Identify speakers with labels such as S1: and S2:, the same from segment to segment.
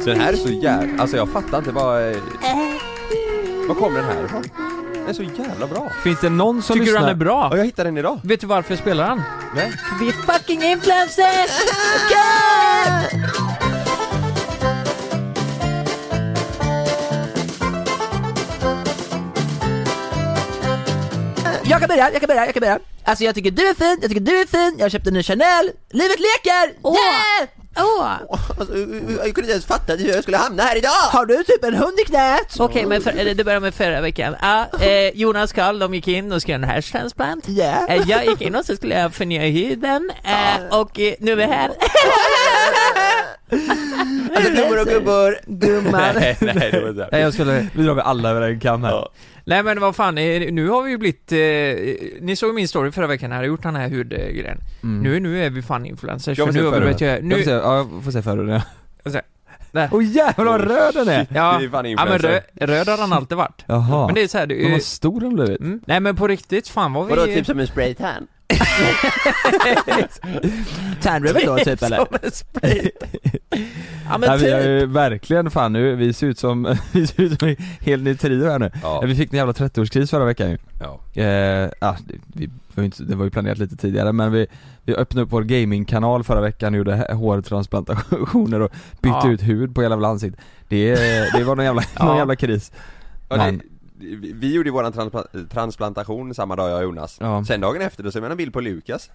S1: Så den här är så jävla, alltså jag fattar inte vad... eh, Vad kommer den här ifrån? Den är så jävla bra!
S2: Finns det någon som
S3: Tycker du
S2: lyssnar?
S3: han är bra?
S1: Ja, jag hittade den idag!
S3: Vet du varför jag spelar han?
S1: Nej.
S4: Vi är fucking influencers! Okej! Jag kan börja, jag kan börja, jag kan börja. Alltså jag tycker du är fin, jag tycker du är fin, jag köpte en ny Chanel, livet leker!
S5: Åh.
S4: Yeah!
S5: Åh!
S1: Alltså, jag kunde inte ens fatta hur jag skulle hamna här idag!
S4: Har du typ en hund i knät?
S5: Okej, men för, eller det börjar med förra veckan. Ah, eh, Jonas Karl, de gick in och skulle göra en hashtransplant.
S4: Yeah.
S5: Eh, jag gick in och så skulle jag förnya huden. Eh, och eh, nu är vi här.
S1: Alltså gummor och gubbor!
S4: Gumman.
S1: Nej, nej det var inte
S2: Nej
S1: det.
S2: jag skulle, vi drar med alla över en kam här.
S1: Ja.
S3: Nej men vad fan, eh, nu har vi ju blivit... Eh, ni såg min story förra veckan när jag hade gjort den här hudgrejen. Nu, nu är vi fan influencers.
S1: Mm. Jag får
S3: för
S1: se
S3: nu har
S1: förhuden.
S3: vi börjat göra...
S2: Jag
S3: Nu,
S2: Mm. får se, ja, jag får se förhuden
S3: får se.
S2: ja.
S3: Där.
S2: Åh jävlar vad röd den är!
S3: ja,
S1: Det är fan
S3: ja men röd,
S1: influencer.
S3: röd har han alltid varit.
S2: Jaha,
S3: Men det är så här, det,
S2: men
S3: är-
S2: vad stor den blivit.
S3: mm. Nej men på riktigt, fan vad vi...
S1: Vadå, typ som en spraytan?
S4: Tandrubber då typ eller?
S5: Ja,
S2: Nej,
S5: men
S2: vi har
S5: typ.
S2: ju verkligen fan nu, vi ser ut som, vi ser ut som en helt ny trio här nu.
S1: Ja.
S2: Vi fick en jävla 30-årskris förra veckan ju.
S1: Ja.
S2: Eh, ah, det, vi, var ju inte, det var ju planerat lite tidigare men vi, vi öppnade upp vår gamingkanal förra veckan och gjorde hä- hårtransplantationer och bytte
S3: Ja.
S2: ut hud på hela jävla ansiktet. Det, det var någon jävla, någon
S3: Ja.
S2: jävla kris.
S1: Ja, det,
S2: Men-
S1: vi- vi gjorde ju våran transpla- transplantation samma dag jag och Jonas.
S2: Ja.
S1: Sen dagen efter då såg man en bild på Lukas.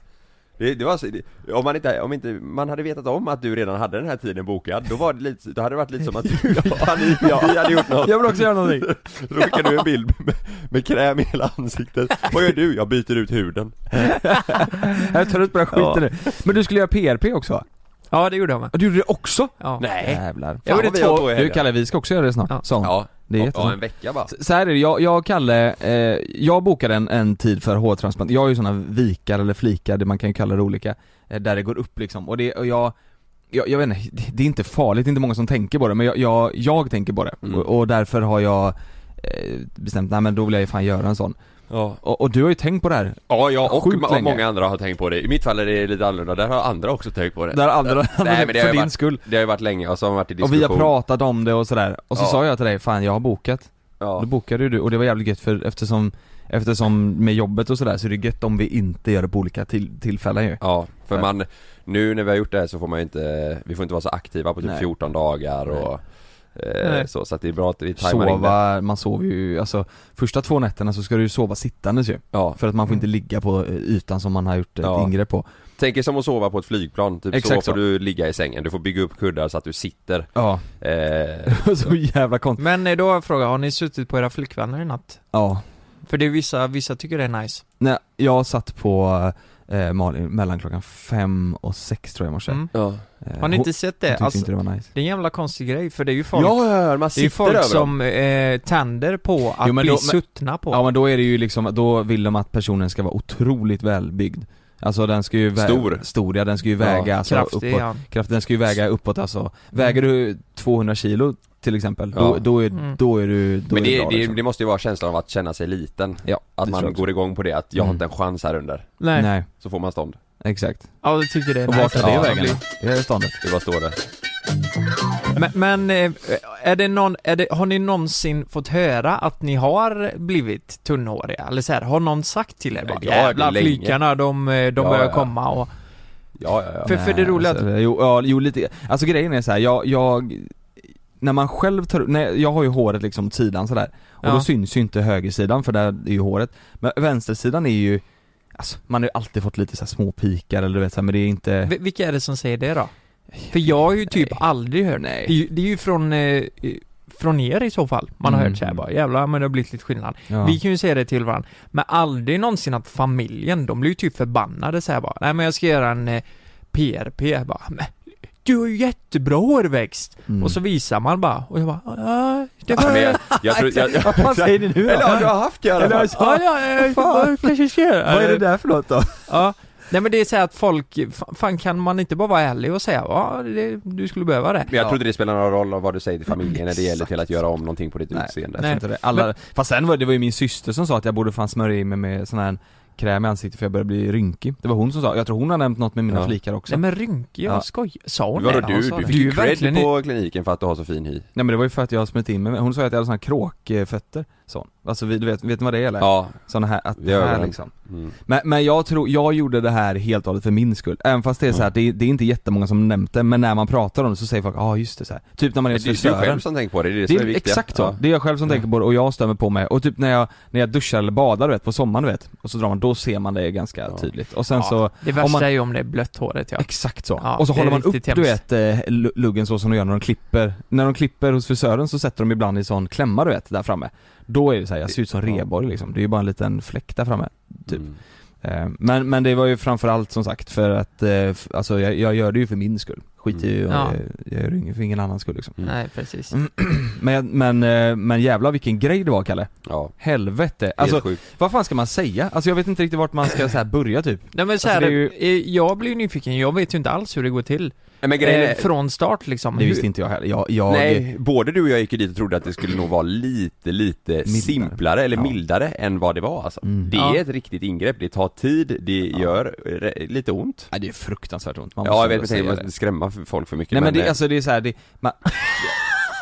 S1: Det, det var så, det, om man inte, om inte, man hade vetat om att du redan hade den här tiden bokad, då var det lite, då hade det varit lite som att du och han, vi hade gjort något.
S2: Jag vill också göra någonting.
S1: Då skickade du en bild med, med kräm i hela ansiktet. Vad gör du? Jag byter ut huden.
S2: Jag är trött på den här
S1: Ja.
S2: skiten nu. Men du skulle göra PRP också va?
S3: Ja det gjorde jag med.
S2: Ja, Du gjorde det också?
S3: Ja.
S2: Jävlar.
S3: Jag gjorde
S1: vad vi har
S3: två...
S1: på er.
S2: Du Kalle, vi ska också göra det snart.
S3: Ja.
S2: Så.
S1: Ja,
S2: Det är
S1: om-
S2: jättebra.
S1: om en vecka bara.
S2: Så här är det, jag, jag och Kalle, eh, jag bokade en, en tid för hårtransplant, jag har ju såna vikar eller flikar, det man kan ju kalla det olika, eh, där det går upp liksom och det, och jag jag, jag vet inte, det- det är inte farligt, det är inte många som tänker på det men jag, jag, jag tänker på det
S1: Mm.
S2: och, och därför har jag eh, bestämt, nej men då vill jag ju fan göra en sån.
S1: Ja.
S2: Och, och du har ju tänkt på det här,
S1: Ja, jag och
S2: Sjukt
S1: ma-
S2: länge.
S1: många andra har tänkt på det. I mitt fall är det lite annorlunda, där har andra också tänkt på det.
S2: där andra,
S1: Nej, men det har
S2: för
S1: ju
S2: din
S1: varit-
S2: skull.
S1: Det har ju varit länge, och så har man varit i
S2: Och
S1: diskussion.
S2: vi har pratat om det och sådär, och så
S1: Ja.
S2: sa jag till dig, fan jag har bokat.
S1: Ja.
S2: Då bokade ju du och det var jävligt gött för eftersom, eftersom med jobbet och sådär så är det gött om vi inte gör det på olika till, tillfällen ju.
S1: Ja, för
S2: Ja.
S1: man, nu när vi har gjort det här så får man ju inte, vi får inte vara så aktiva på typ
S2: Nej.
S1: 14 dagar och eh,
S3: Nej.
S1: så, så att det är bra att vi tajmar in det.
S2: Sova, man sover ju, alltså första två nätterna så ska du ju sova sittandes ju.
S1: Ja,
S2: För att man får inte ligga på eh, ytan som man har gjort ett
S1: Ja.
S2: ingrepp på.
S1: tänk er som att sova på ett flygplan, typ
S2: Exakt
S1: så
S2: så.
S1: får du ligga i sängen, du får bygga upp kuddar så att du sitter
S2: Ja,
S1: eh,
S2: så jävla konstigt.
S3: Men eh, då har jag frågat, har ni suttit på era flickvänner i natt?
S2: Ja.
S3: För det är vissa, vissa tycker det är nice.
S2: Nej, jag satt på eh, Malin mellan klockan fem och sex tror jag i morse.
S3: Mm.
S1: Ja,
S2: Eh,
S3: Har ni
S2: hon-
S3: inte sett
S2: hon
S3: det?
S2: tyckte
S3: Alltså,
S2: inte det var nice.
S3: det är en jävla konstig grej, för det är ju folk
S1: ja, man
S3: Det är ju
S1: sitter
S3: folk
S1: över dem.
S3: som eh, tänder på att
S2: Jo, men
S3: bli
S2: då- men-
S3: suttna på.
S2: Ja men då är det ju liksom, då vill de att personen ska vara otroligt välbyggd. Alltså den ska ju vä-
S1: Stor.
S2: Stor ja, den ska ju väga
S1: Ja,
S2: alltså,
S3: Kraftig
S2: uppåt.
S3: ja.
S2: kraft, den ska ju väga uppåt alltså. Väger du 200 kilo till exempel, då,
S1: Ja.
S2: då, är,
S3: Mm.
S2: då är du, då
S1: Men
S2: är du
S1: det,
S2: bra,
S1: det,
S2: liksom.
S1: det måste ju vara känslan av att känna sig liten,
S2: Ja,
S1: att
S2: det tror jag
S1: man
S2: också.
S1: går igång på det att jag har
S2: Mm.
S1: inte en chans här under,
S3: Nej.
S2: Nej,
S1: så får man stånd.
S2: exakt.
S3: Ja, jag tycker det är
S2: Och
S3: nice.
S2: vart tar det
S3: Ja,
S2: vägen
S3: blir-
S2: då? Det är ståndet.
S1: Det bara står det.
S3: Men, men eh, är det någon, är det, har ni någonsin fått höra att ni har blivit tunnhåriga? Eller så här, har någon sagt till er bara,
S1: Ja, det är
S3: jävla
S1: länge."
S3: flykarna, de, eh, de
S1: Ja,
S3: börjar
S1: ja.
S3: komma och...
S1: Ja, ja, ja.
S3: För- för det roliga
S2: alltså, jo, ja, jo lite, alltså grejen är så här, jag, jag när man själv tar nej, jag har ju håret liksom åt sidan sådär Och
S3: Ja.
S2: då syns ju inte högersidan för där är ju håret Men vänstersidan är ju, alltså man har ju alltid fått lite så här små pikar eller du vet så här, men det är inte
S3: Vi- Vilka är det som säger det då? För jag har ju typ
S2: Nej.
S3: aldrig hört
S2: Nej.
S3: Det är ju, det är ju från, eh, från er i så fall. Man har
S2: Mm.
S3: hört så här bara, jävlar men det har blivit lite skillnad.
S2: ja.
S3: Vi kan ju säga det till varandra, men aldrig någonsin att familjen, de blir ju typ förbannade så här bara. Nej men jag ska göra en eh, PRP, Jag bara, men du har ju jättebra hårväxt!
S2: Mm.
S3: Och så visar man bara, och jag bara, ja, det
S1: Ja,
S3: var...
S1: men jag, jag tror, jag, jag,
S2: Vad säger ni nu då?
S1: Eller ja, du har haft det i alla fall.
S3: Ja, ja, eh,
S2: fan.
S3: vad kanske jag ska göra.
S2: Vad är det där för något då?
S3: Ja. Nej men det är så här att folk, fa- fan kan man inte bara vara ärlig och säga, ja, det, du skulle behöva det.
S1: Men jag tror inte det spelar någon roll av vad du säger till familjen när det gäller till att göra om någonting på ditt
S2: Nej.
S1: utseende.
S2: Jag tror inte det. Alla, fast sen var det, det var ju min syster som sa att jag borde fan smörja in mig med sån här kräm i ansiktet för jag började bli rynkig Det var hon som sa, jag tror hon har nämnt något med mina
S1: Ja.
S2: flikar också
S3: Nej men rynkig, jag
S2: Ja.
S3: skojar. Sa hon
S1: Vadå
S3: det?
S1: du?
S3: Hon sa
S1: Du
S3: det.
S1: fick
S3: Du
S1: ju
S3: är verkligen
S1: cred
S3: i-
S1: på kliniken för att du har så fin hy
S2: Nej men det var ju för att jag har smält in mig, hon sa ju att jag hade såna här kråkfötter, sån. Alltså vi, du vet, vet ni vad det är eller?
S1: Ja,
S2: Såna här, att
S1: Vi har
S2: här
S1: ögonen.
S2: liksom
S1: mm.
S2: Mm. men, men jag tror, jag gjorde det här helt och hållet för min skull, även fast det är så här, det, är- det är inte jättemånga som nämnt det, men när man pratar om det så säger folk ja ah, just det så här. Typ när man är
S1: Det är
S2: hos
S1: du själv
S2: frisören
S1: som tänker på det, det är det,
S2: det
S1: som är
S2: är
S1: viktigt
S2: exakt så, det är jag själv som tänker på det och jag stämmer på mig och typ när jag, när jag duschar eller badar du vet, på sommaren du vet, och så drar man, då ser man det ganska
S1: Ja.
S2: tydligt och sen
S3: Ja,
S2: så
S3: Det värsta
S2: man-
S3: är ju om det är blött håret ja.
S2: Exakt så.
S3: Ja,
S2: och så
S3: det är
S2: håller man upp
S3: riktigt
S2: du
S3: hemskt.
S2: vet eh, lu- luggen så som de gör när de klipper. När de klipper hos frisören så sätter de ibland i sån klämma du vet, där framme. Då är det så här, jag ser ut som
S1: Ja.
S2: reborg liksom. Det är ju bara en liten fläck där framme. typ.
S1: Mm.
S2: Eh, Men, men det var ju framförallt som sagt för att, eh, f- alltså jag, jag gör det ju för min skull. Skit i
S3: Mm.
S2: jag,
S3: Ja.
S2: jag gör det ju för ingen annans skull liksom.
S1: Mm.
S3: Nej precis.
S2: Mm. Men, jag- men, eh, men jävlar vilken grej det var Kalle.
S1: Ja,
S2: Helvete.
S1: helt
S2: Alltså
S1: sjukt.
S2: vad fan ska man säga? Alltså jag vet inte riktigt vart man ska så här börja typ.
S3: Nej men så här,
S2: Alltså, det är
S3: eh, jag blir ju nyfiken, jag vet ju inte alls hur det går till.
S1: Nej, men grejen
S3: eh,
S1: är,
S3: Från start liksom.
S2: Det
S3: Hur-
S2: visste inte jag heller. Jag, jag,
S1: nej, både du och jag gick ju dit och trodde att det skulle nog vara lite, lite simplare eller
S2: Ja.
S1: mildare än vad det var alltså.
S2: Mm.
S1: Det
S3: Ja.
S1: är ett riktigt ingrepp, det tar tid, det gör re- lite ont.
S2: Ja, det är fruktansvärt ont, man
S1: Ja, jag vet
S2: ändå
S1: inte, jag
S2: säga
S1: måste skrämma folk för mycket
S2: Nej men det,
S1: eh,
S2: alltså det är så här, det, man,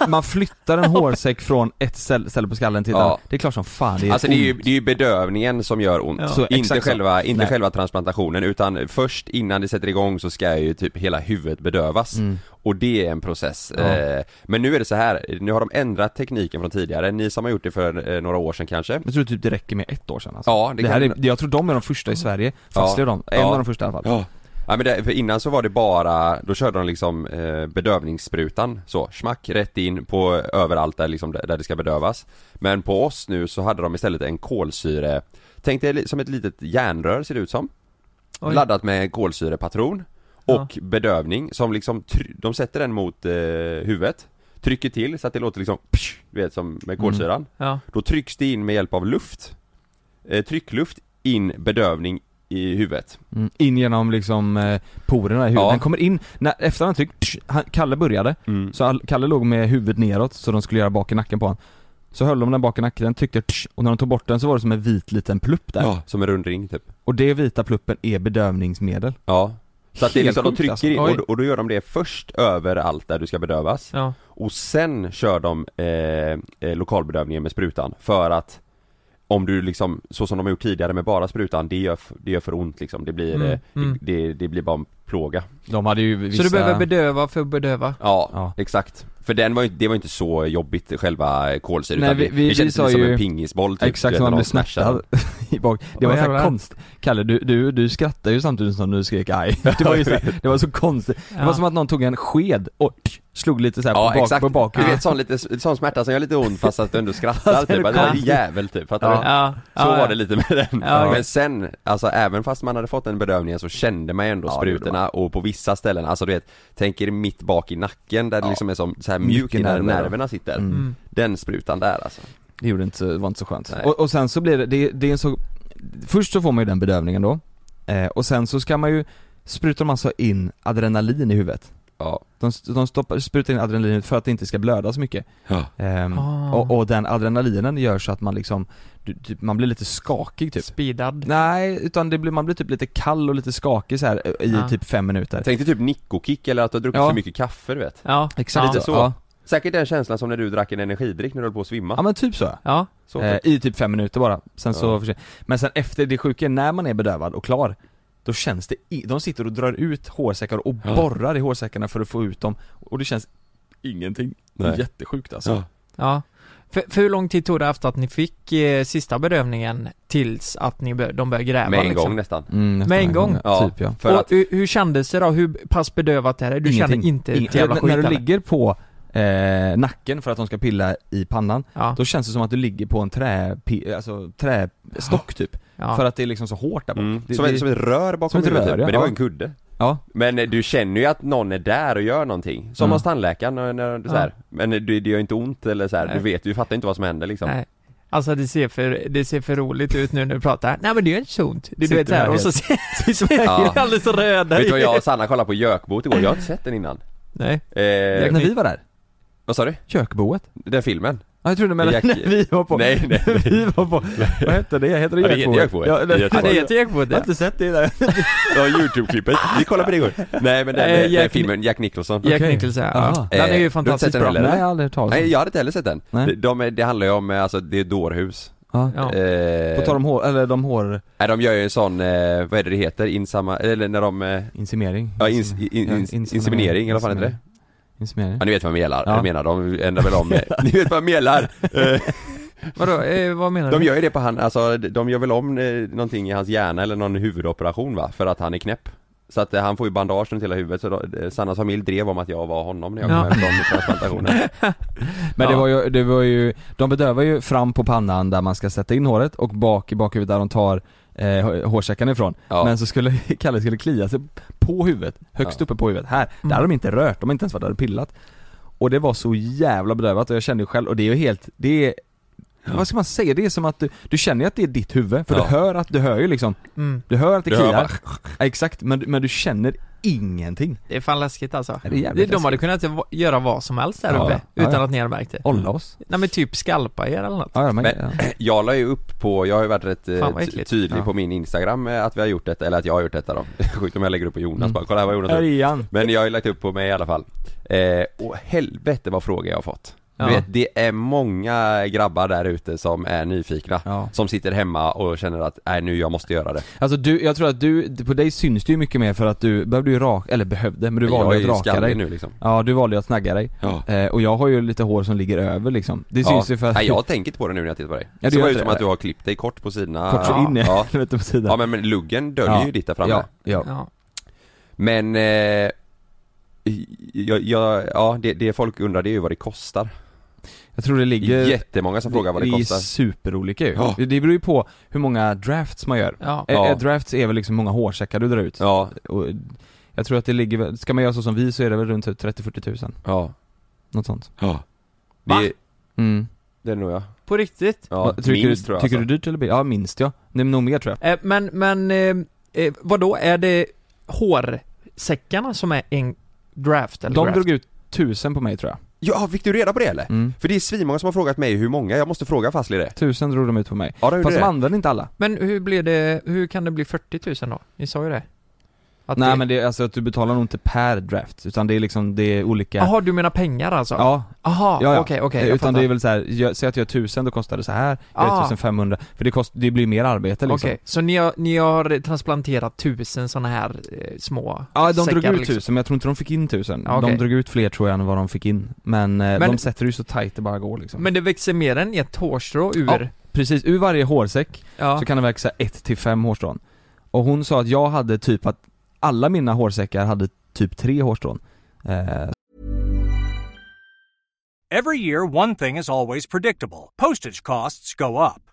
S2: man flyttar en hårsäck från ett ställe, ställe på skallen till ett
S1: Ja.
S2: annat. Det är klart som fan det är
S1: Alltså det är, ju,
S2: ont.
S1: det är ju bedövningen som gör ont,
S2: Ja. Så
S1: inte,
S2: exakt så.
S1: själva, inte
S2: Nej.
S1: själva transplantationen utan först innan det sätter igång så ska ju typ hela huvudet bedövas
S2: Mm.
S1: och det är en process.
S2: Ja.
S1: Eh, Men nu är det så här, nu har de ändrat tekniken från tidigare, ni som har gjort det för eh, några år sedan kanske?
S2: Jag tror typ det räcker med ett år sedan alltså.
S1: Ja,
S2: det
S1: det, kan... Mm.
S2: här är, Jag tror de är de första i Sverige, fast
S1: Ja.
S2: är de, en
S1: Ja.
S2: av de första i alla fall.
S1: Ja. Ja, men det, för innan så var det bara, då körde de liksom eh, bedövningssprutan så, smack rätt in på överallt där, liksom, där där det ska bedövas Men på oss nu så hade de istället en kolsyre, tänk dig li- som ett litet järnrör ser det ut som
S3: Oj.
S1: Laddat med en kolsyrepatron och bedövning som liksom, try- de sätter den mot eh, huvudet Trycker till så att det låter liksom, psh, du vet som med kolsyran
S3: Ja.
S1: Då trycks det in med hjälp av luft eh, Tryckluft in bedövning i huvudet
S2: Mm. In genom liksom eh, porerna i huvudet.
S1: Ja.
S2: Den kommer in, när, efter han tryckt, tsch, han, Kalle började,
S1: Mm.
S2: så all, Kalle låg med huvudet neråt så de skulle göra bak i nacken på honom. Så höll de den bak i nacken, tryckte tsch, och när de tog bort den så var det som en vit liten plupp där.
S1: Ja, som en rund ring typ.
S2: Och det vita pluppen är bedövningsmedel.
S1: Ja. Så att det är
S2: Helt
S1: liksom, de
S2: sjukt,
S1: trycker
S2: alltså.
S1: in, och,
S3: Oj.
S1: då- och då gör de det först över allt där du ska bedövas.
S3: Ja.
S1: Och sen kör de eh, eh, lokalbedövningen med sprutan, för att om du liksom, så som de har gjort tidigare med bara sprutan, det gör, f- det gör för ont liksom. Det blir,
S3: Mm,
S1: eh,
S3: mm.
S1: Det, det, det blir bara en plåga.
S2: De hade ju vissa...
S3: Så du behöver bedöva för att bedöva?
S1: Ja,
S2: Ja.
S1: exakt. För den var ju, det var inte så jobbigt själva kolsyran,
S2: Nej,
S1: utan
S2: vi-
S1: det,
S2: vi-
S1: det
S2: vi
S1: kändes
S2: sa
S1: lite som
S2: ju-
S1: en pingisboll typ. du
S2: Exakt,
S1: vet,
S2: som man
S1: när
S2: blir
S1: de smashar
S2: snärtad i bak. Det var
S3: Åh,
S2: så här
S3: jävlar.
S2: konstigt. Kalle, du, du, du skrattade ju samtidigt som du skrek aj. Det var ju så, det var så konstigt. Det var som att någon tog en sked och tsch, slog lite så här
S1: Ja
S2: på, bak,
S1: exakt,
S2: på bak.
S1: du vet sån, lite, sån smärta som gör lite ont fast att du ändå skrattar
S2: är
S1: typ,
S2: det
S1: att det är en
S2: konstigt.
S1: jävel typ, fattar du?
S3: Ja.
S1: Så
S3: ja,
S1: var
S3: ja.
S1: det lite med den.
S3: Ja,
S1: Men sen, alltså även fast man hade fått en bedövning så kände man ju ändå
S2: Ja, det gjorde
S1: sprutorna och på vissa ställen, alltså du vet, tänk er mitt bak i nacken där det
S2: Ja.
S1: liksom är som så här mjuk
S2: Mycket
S1: i där
S2: nerver,
S1: nerverna sitter.
S2: Mm.
S3: Mm.
S1: Den sprutan där alltså.
S2: Det gjorde inte, så- det var inte så skönt.
S1: Nej.
S2: Och, och sen så blir det, det, det är en så... Först så får man ju den bedövningen då. Eh, och sen så ska man ju, sprutar de alltså in adrenalin i huvudet.
S1: Ja.
S2: De, de stoppar, sprutar in adrenalin för att det inte ska blöda så mycket.
S1: Ja.
S2: Ehm,
S3: Ah.
S2: och, och den adrenalinen gör så att man liksom, du, typ, man blir lite skakig typ.
S3: Speedad.
S2: Nej, utan det blir, man blir typ lite kall och lite skakig så här eh, i
S3: Ja.
S2: typ fem minuter.
S1: Tänk dig typ Nico-kick eller att du har druckit
S2: Ja.
S1: för mycket kaffe du vet.
S3: Ja.
S2: Exakt
S1: lite så.
S2: Ja.
S1: Säkert den känslan som när du drack en energidryck när du höll på att svimma.
S2: ja men typ så.
S3: Ja.
S1: Så,
S2: Eh,
S1: typ.
S2: I typ fem minuter bara. Sen så
S1: Ja.
S2: försvinner. Men sen efter det sjuka, är när man är bedövad och klar, då känns det, i, de sitter och drar ut hårsäckar och
S1: Ja.
S2: borrar i hårsäckarna för att få ut dem och det känns ingenting.
S1: Nej.
S2: Jättesjukt alltså.
S1: Ja.
S3: Ja. För, för hur lång tid tog det efter att ni fick eh, sista bedövningen tills att ni bör, de började gräva
S1: Med en
S3: liksom?
S1: gång nästan.
S2: Mm, nästan
S3: Med en gång?
S1: Ja.
S2: Typ ja.
S1: För
S3: och
S1: att,
S3: hur, hur kändes det då? Hur pass bedövat är det? Du kände inte ett
S2: Ingenting.
S3: jävla
S2: När-
S3: skit
S2: När du
S3: eller?
S2: ligger på eh, nacken för att de ska pilla i pannan,
S3: Ja,
S2: då känns det som att du ligger på en trä, alltså, trästock typ.
S3: ja.
S2: För att det är liksom så hårt där bak.
S1: mm,
S2: Det,
S1: som, ett,
S2: det,
S1: som ett rör
S2: som
S1: bakom
S2: ett
S1: huvudet
S2: rör,
S1: typ.
S2: ja.
S1: men det var
S2: Ja.
S1: en kudde.
S2: ja.
S1: Men eh, du känner ju att någon är där och gör någonting, som
S2: Mm.
S1: hos tandläkaren när, när du så här, men eh, det, det gör inte ont eller så här. du
S3: Nej.
S1: vet, du fattar inte vad som händer liksom
S3: Nej. Alltså det ser, för, det ser för roligt ut nu när du pratar. Nej men det gör inte så ont. Du,
S2: Sitter
S3: du vet
S2: där
S3: såhär och så ser
S1: Ja.
S3: ja. alldeles röda
S1: Vet du vad
S3: i-
S1: jag och Sanna kollade på Gökboet igår, jag har inte sett den innan
S3: Nej.
S1: eh,
S2: När vi var där,
S1: Vad sa du?
S2: kökboet.
S1: Den filmen?
S2: Ja, jag trodde du menade
S1: Jack-
S2: när vi var på...
S1: Nej, nej, nej.
S2: vi var på... Vad hette det? Heter det
S1: Ja, det heter
S2: Jakboet?
S1: Jakboet. Det heter
S2: det-
S1: Jakboet.
S2: Jag har inte sett det där.
S1: Ja, YouTube-klippet. Vi kollar på det igår. Nej men den,
S3: Eh,
S1: den, den
S3: Jack-
S1: filmen, Jack Nicholson.
S3: Jack
S2: Okej.
S3: Nicholson,
S2: Aha.
S3: ja. Den är
S1: Eh, du har
S3: ju
S1: inte sett
S3: fantastiskt
S1: den
S3: bra.
S1: heller?
S2: Nej, Alltså, jag har aldrig hört talas
S1: Nej
S2: om.
S1: jag hade inte heller sett den.
S2: Nej.
S1: De, de, är- det handlar ju om, eh, alltså det är dårhus.
S2: Ja.
S3: Ja.
S1: Eh,
S2: På tal om hår, eller de
S1: nej, de gör ju en sån, eh, vad är det det heter, insamma, eller när de, eh,
S2: hårinseminering.
S1: ja, ins, in, in,
S2: inseminering.
S1: inseminering eller vad fan heter det?
S2: Inseminering.
S1: Ja ni vet vad jag menar,
S2: Ja.
S1: jag menar de ändrar väl om, eh, ni vet vad jag menar! Eh,
S3: Vadå, eh, vad menar
S1: De
S3: du?
S1: gör ju det på han, alltså de gör väl om eh, någonting i hans hjärna eller någon huvudoperation va, för att han är knäpp Så att eh, han får ju bandage runt hela huvudet så då, eh, Sannas familj drev om att jag var honom när jag kom
S3: Ja.
S1: hem från transplantationen
S2: Men det
S3: Ja.
S2: var ju, det var ju, de bedövar ju fram på pannan där man ska sätta in håret och bak i bakhuvudet där de tar eh, hårsäckarna ifrån.
S1: Ja.
S2: Men så skulle Kalle skulle klia sig på huvudet, högst
S1: Ja.
S2: uppe på huvudet, här. Där har de inte rört, de har inte ens varit där och pillat. Och det var så jävla bedövat och jag kände ju själv, och det är ju helt, det är Vad ska man säga? Det är som att du, du känner ju att det är ditt huvud, för
S1: Ja.
S2: du hör att, du hör ju liksom,
S3: Mm.
S2: du hör att det
S1: Du hör
S2: kliar. Ja, exakt, men, men du känner ingenting.
S3: Det är fan läskigt alltså.
S2: Det är
S3: Det,
S2: jävligt
S3: de hade kunnat va- göra vad som helst där
S2: Ja,
S3: uppe,
S2: ja.
S3: utan
S2: Ja, ja.
S3: att ni hade märkt det.
S2: Olla oss.
S3: Nej men typ skalpa er eller något.
S2: Ja, ja, men,
S1: Men-
S2: ja.
S1: Jag la ju upp på, jag har ju varit rätt eh,
S3: Fan, vad
S1: ty-
S3: äckligt.
S1: tydlig
S2: Ja.
S1: på min instagram eh, att vi har gjort detta, eller att jag har gjort detta då Sjukt om jag lägger upp på Jonas
S2: Mm.
S1: bara, kolla här vad Jonas har
S2: Där
S1: gjort
S2: är han.
S1: Men jag har ju lagt upp på mig i alla fall eh, Och helvete vad frågor jag har fått
S3: Ja.
S1: Du vet, det är många grabbar där ute som är nyfikna
S2: Ja.
S1: Som sitter hemma och känner att, nej nu jag måste göra det
S2: Alltså du, jag tror att du, på dig syns det ju mycket mer för att du behövde ju raka, eller behövde, men du
S1: jag
S2: valde
S1: är
S2: ju
S1: ju
S2: att raka
S1: skallig
S2: dig
S1: nu liksom
S2: Ja, du valde ju att snagga dig.
S1: Ja.
S2: Eh, och jag har ju lite hår som ligger över liksom. Det syns ju för att...
S1: Nej jag tänker inte på det nu när jag tittar på dig
S2: Ja,
S1: Det
S2: du
S1: ser
S2: gör
S1: bara ut
S2: inte
S1: som
S2: det.
S1: att du har klippt dig kort på sidorna
S2: Kort så in i
S1: ja.
S2: helvete på sidan.
S1: ja men, men luggen döljer
S2: Ja.
S1: ju ditt där framme
S2: ja, ja.
S3: Ja.
S1: Men, eh, jag, jag, ja det, det folk undrar det är ju vad det kostar
S2: Jag tror det
S1: Det
S2: ligger...
S1: är jättemånga som frågar vad det
S2: är
S1: kostar
S2: superolika ju.
S1: Ja.
S2: Det det beror ju på hur många drafts man gör.
S3: Ja.
S2: Eh,
S1: Ja.
S2: eh, drafts är väl liksom många hårsäckar du drar ut.
S1: Ja,
S2: Och jag tror att det ligger, väl- ska man göra så som vi så är det väl runt typ 30-40 tusen.
S1: ja,
S2: Något sånt.
S1: ja
S3: Va?
S1: Det,
S2: Mm.
S1: det är nog jag
S3: På riktigt?
S1: Ja,
S2: Vad- tycker
S1: minst
S2: du,
S1: tror jag
S2: Tycker
S1: alltså.
S2: du dyrt eller billigt? Ja, minst ja. Det är nog mer tror jag.
S3: Eh, men, men, eh, eh, vadå, är det hårsäckarna som är en draft eller
S2: De
S3: draft?
S2: drog ut tusen på mig tror jag.
S1: Ja, fick du reda på det eller?
S2: Mm.
S1: För det är svinmånga som har frågat mig hur många, jag måste fråga Fazli det
S2: Tusen drog de ut på mig.
S1: Ja, de gjorde
S2: Fast de
S1: det
S2: använde inte alla.
S3: Men hur blir det, hur kan det bli 40 000 då? Ni sa ju det. Att
S2: Nej
S3: det...
S2: men det är alltså att du betalar nog inte per draft, utan det är liksom, det är olika
S3: Jaha, du menar pengar alltså?
S2: Ja,
S3: Aha,
S2: ja, ja.
S3: okej, okej. jag
S2: utan
S3: fattar.
S2: det är väl såhär, gör- säg att jag gör tusen, då kostar det så här. Jag gör
S3: Ah.
S2: 1500, för det, kost, det blir mer arbete liksom.
S3: Okej, så ni har, ni har transplanterat tusen såna här eh, små
S2: Ja, de drog
S3: säckar,
S2: ut
S3: liksom.
S2: tusen, men jag tror inte de fick in tusen.
S3: Ja, okej.
S2: De drog ut fler tror jag än vad de fick in. Men,
S3: Men-
S2: eh, de sätter ju så tight det bara går liksom.
S3: Men det växer mer än ett hårstrå ur?
S2: Ja. Precis, ur varje hårsäck
S3: Ja.
S2: så kan det växa 1-5 hårstrån. Och hon sa att jag hade typ att, alla mina hårsäckar hade typ tre hårstrån. Eh,
S6: Every year, one thing is always predictable postage costs go up.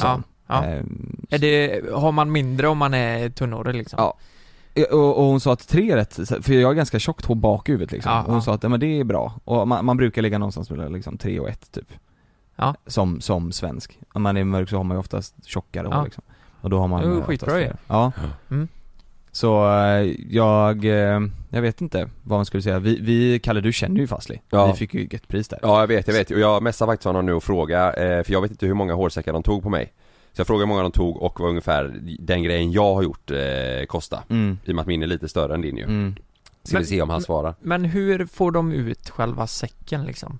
S3: ja. ja.
S2: ehm,
S3: Är det, har man mindre om man är tunnhårig liksom?
S2: Ja. Och, och hon sa att tre är rätt, för jag har ganska tjockt hår bak i huvudet liksom.
S3: Ja,
S2: och hon
S3: ja.
S2: sa att ja, men det är bra, och man, man brukar ligga någonstans mellan liksom tre och ett typ.
S3: Ja.
S2: Som, som svensk. Om man är mörk så har man ju oftast tjockare
S3: Ja.
S2: hår liksom. Och då har man
S3: Det är ju
S2: eh, oftast
S3: skitbra ju.
S2: fler. Ja.
S3: Mm.
S2: Så eh, jag, eh, jag vet inte vad man skulle säga. Vi, vi Kalle du känner ju Fazli.
S1: Ja.
S2: Vi fick ju ett pris där.
S1: Ja jag vet, jag vet och jag messar faktiskt honom nu och frågar eh, för jag vet inte hur många hårsäckar de tog på mig Så jag frågar hur många de tog och vad ungefär den grejen jag har gjort eh, kosta
S2: Mm.
S1: I och med att min är lite större än din ju
S2: Mm.
S1: Ska vi
S3: Men-
S1: se om han svarar
S3: Men hur får de ut själva säcken liksom?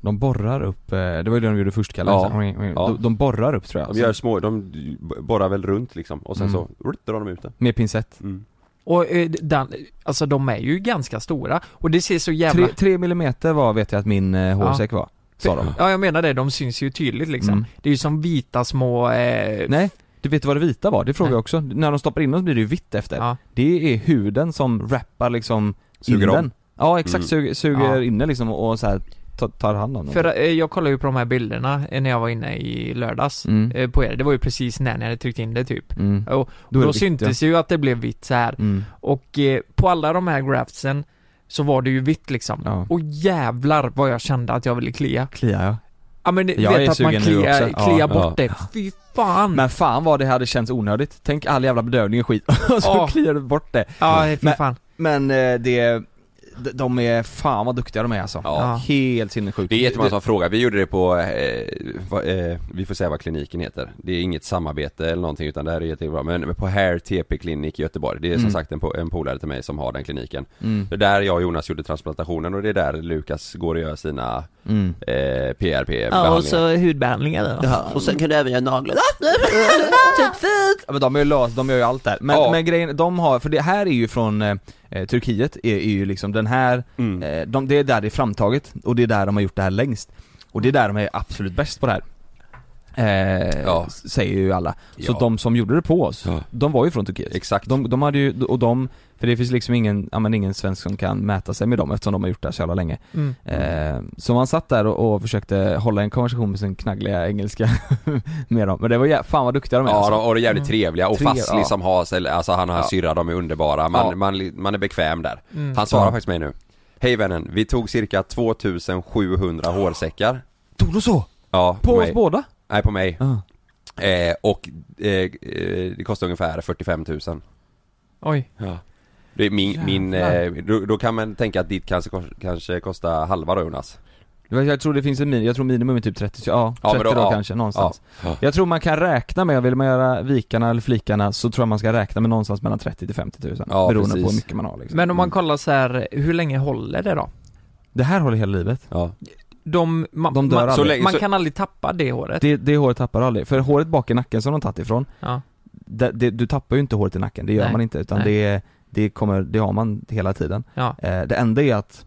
S2: De borrar upp, eh, det var ju det de gjorde först Kalle.
S1: Ja.
S2: Så-
S1: Ja.
S2: De, de borrar upp tror jag.
S1: De gör små, de borrar väl runt liksom och sen
S2: Mm.
S1: så rutt, drar de ut det
S2: Med pincett.
S1: mm.
S3: Och eh, den, alltså de är ju ganska stora och det ser så jävla...
S2: Tre, tre millimeter var vet jag att min eh, hårsäck var. Sa de.
S3: Ja jag menar det, de syns ju tydligt liksom.
S2: Mm.
S3: Det är ju som vita små... Eh,
S2: Nej, du vet vad det vita var? Det frågade
S3: Nej.
S2: jag också. När de stoppar in dem så blir det ju vitt efter.
S3: ja.
S2: Det är huden som wrappar liksom
S1: Suger
S2: in
S1: om.
S2: den. Ja exakt,
S1: Mm.
S2: suger, suger
S3: Ja.
S2: in den liksom och så här ta- tar hand om dem.
S3: För eh, jag kollade ju på de här bilderna eh, när jag var inne i lördags
S2: Mm.
S3: eh, på er. Det var ju precis när ni hade tryckt in det typ.
S2: Mm.
S3: Och då
S2: Då är det vitt,
S3: syntes ju att det blev vitt så här.
S2: ja. Mm.
S3: Och eh, på alla de här graphsen så var det ju vitt liksom.
S2: Ja.
S3: Och jävlar vad jag kände att jag ville klia.
S2: Kliar jag.
S3: Ja men du
S2: Jag är
S3: vet att man
S2: sugen nu
S3: kliar,
S2: också.
S3: kliar
S2: Ja,
S3: bort
S1: ja.
S3: det. Fy fan!
S2: Men fan vad det hade känts onödigt. Tänk all jävla bedövning och skit och så
S3: Ja.
S2: kliar du bort det.
S3: ja, fy
S2: Men-
S3: fan.
S2: Men eh, det, d- de är, fan vad duktiga de är alltså.
S1: Ja.
S2: Helt sinnessjukt.
S1: Det är jättemånga som frågar, vi gjorde det på, eh, va, eh, vi får säga vad kliniken heter Det är inget samarbete eller någonting utan det här är jättebra Men på Hair TP Clinic i Göteborg Det är som
S2: Mm.
S1: sagt en, po- en polare till mig som har den kliniken
S2: Mm.
S1: Det är där jag och Jonas gjorde transplantationen och det är där Lukas går och gör sina
S2: Mm.
S1: eh, PRP-behandlingar
S5: Ja, och så hudbehandlingar då.
S4: Ja, och sen kan du även göra naglarna. typ fint!
S2: Ja, men de är ju lös, de gör ju allt där. Men,
S1: Ja.
S2: men grejen, de har, för det här är ju från eh, eh, Turkiet, är, är ju liksom den här,
S1: Mm.
S2: eh, de, det är där det är framtaget och det är där de har gjort det här längst. Och det är där de är absolut bäst på det här. Eh,
S1: Ja.
S2: s- Säger ju alla. Så
S1: Ja.
S2: de som gjorde det på oss,
S1: Ja.
S2: de var ju från Turkiet.
S1: Exakt
S2: De, de hade ju, och de, för det finns liksom ingen, ja, men ingen svensk som kan mäta sig med dem eftersom de har gjort det här så jävla länge.
S3: Mm.
S2: Eh, så man satt där och, och försökte hålla en konversation med sin knaggliga engelska med dem. Men det var jä- fan vad duktiga de är
S1: Ja,
S2: alltså.
S1: de, och de är jävligt
S3: Mm.
S1: trevliga och
S2: Trev-
S1: Fazli
S2: ja.
S1: som har, ställ- alltså han och hans
S2: Ja.
S1: syrra, de är underbara, man,
S2: Ja.
S1: man, man är bekväm där
S3: Mm.
S1: Han svarar
S2: Ja.
S1: faktiskt mig nu Hej vännen, vi tog cirka 2700 hårsäckar
S2: Tog du så?
S1: Ja,
S2: På oss
S1: mig.
S2: båda?
S1: Nej, på mig
S2: Ja.
S1: Eh, och eh, eh, det kostar ungefär 45 000
S3: Oj.
S1: Det är min, min eh,
S2: Jävlar.
S1: då, då kan man tänka att ditt kanske, kos- kanske kostar halva då Jonas
S2: Jag jag tror det finns en min, jag tror minimum är typ 30, ja, 30
S1: Ja, men då-
S2: då
S1: ja.
S2: kanske, någonstans.
S1: Ja.
S2: Jag tror man kan räkna med, vill man göra vikarna eller flikarna så tror jag man ska räkna med någonstans mellan 30 till 50 000
S1: Ja,
S2: beroende
S1: precis.
S2: på hur mycket man har liksom.
S3: Men om man
S1: Mm.
S3: kollar så här, hur länge håller det då?
S2: Det här håller hela livet.
S1: Ja,
S3: De, man,
S2: De dör
S3: man,
S2: aldrig.
S1: Så länge-
S3: man
S1: så-
S3: kan aldrig tappa det håret.
S2: Det, det håret tappar aldrig, för håret bak i nacken som de tagit ifrån,
S3: Ja.
S2: det, det, du tappar ju inte håret i nacken, det gör
S3: Nej.
S2: man inte utan
S3: Nej.
S2: det, det kommer, det har man hela tiden.
S3: Ja.
S2: Eh, det enda är att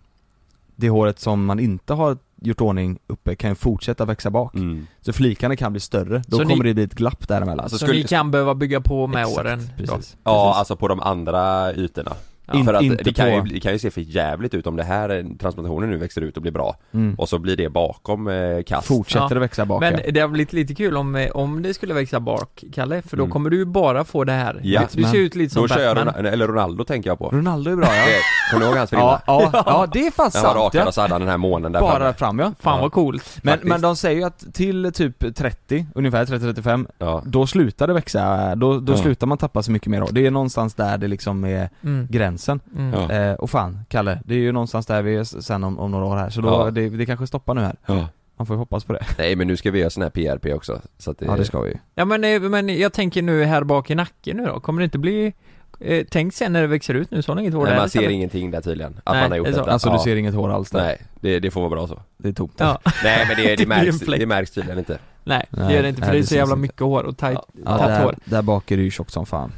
S2: det håret som man inte har gjort ordning uppe kan ju fortsätta växa bak.
S1: mm.
S2: Så flikarna kan bli större, då
S3: Så ni-
S2: kommer det bli ett glapp däremellan.
S1: Alltså,
S3: Så,
S1: skulle-
S3: ni kan behöva bygga på med
S2: Exakt,
S3: åren. då.
S2: Precis.
S1: ja
S2: Precis.
S1: alltså på de andra ytorna
S3: Ja.
S1: För att
S2: inte
S1: det, kan
S2: på-
S1: ju, det kan ju se för jävligt ut om det här eh, transplantationen nu växer ut och blir bra
S2: Mm.
S1: Och så blir det bakom eh, kast
S2: Fortsätter
S3: Ja.
S2: att växa bak ja.
S3: Men det har blivit lite kul om, eh, om det skulle växa bak, Kalle, för då
S1: Mm.
S3: kommer du ju bara få det här.
S1: Ja.
S3: Du ser ut lite som
S1: Då kör jag
S3: Batman.
S1: Ronaldo, eller Ronaldo tänker jag på
S2: Ronaldo är bra ja.
S1: Det- Kommer du ihåg hans
S2: Ja,
S1: frilla?
S2: ja, ja, det är fan
S1: Den var
S2: sant
S1: rakad
S2: ja.
S1: och så hade han den här månen där
S2: Bara
S1: framme.
S2: fram ja.
S3: Fan
S1: Ja.
S3: vad coolt.
S2: Men,
S1: faktiskt.
S2: men de säger ju att till typ 30, ungefär 30-35,
S1: ja.
S2: då slutar det växa, då, då
S1: Ja.
S2: slutar man tappa så mycket mer hår. Det är någonstans där det liksom är
S3: Mm.
S2: gränsen.
S3: Mm.
S1: Ja.
S2: Eh, och fan, Kalle, det är ju någonstans där vi är s- sen om, om några år här, så då,
S1: Ja.
S2: det, det kanske stoppar nu här.
S1: Ja.
S2: Man får ju hoppas på det.
S1: Nej men nu ska vi göra sån här PRP också så att det,
S2: Ja det ska vi ju.
S3: Ja men, eh, men jag tänker nu här bak i nacken nu då, kommer det inte bli... Eh, tänk sen när det växer ut nu, så har ni inget hår
S1: Nej,
S3: där
S1: man ser
S3: istället.
S1: ingenting där tydligen, att
S3: Nej,
S1: man har gjort
S3: det är så.
S1: detta
S2: Alltså
S1: Ja.
S2: du ser inget hår alls där.
S1: Nej, det, det får vara bra så
S2: Det är tomt.
S3: Ja.
S1: Nej men det, det,
S3: blir
S1: märks,
S3: en fläck.
S1: det märks tydligen inte
S3: Nej, det
S2: Nej,
S3: gör det inte för
S2: nej,
S3: det är
S2: det
S3: så jävla
S2: syns
S3: mycket hår och tajt,
S2: Ja,
S3: tajt
S2: där,
S3: hår.
S2: där bak är du ju tjockt som fan.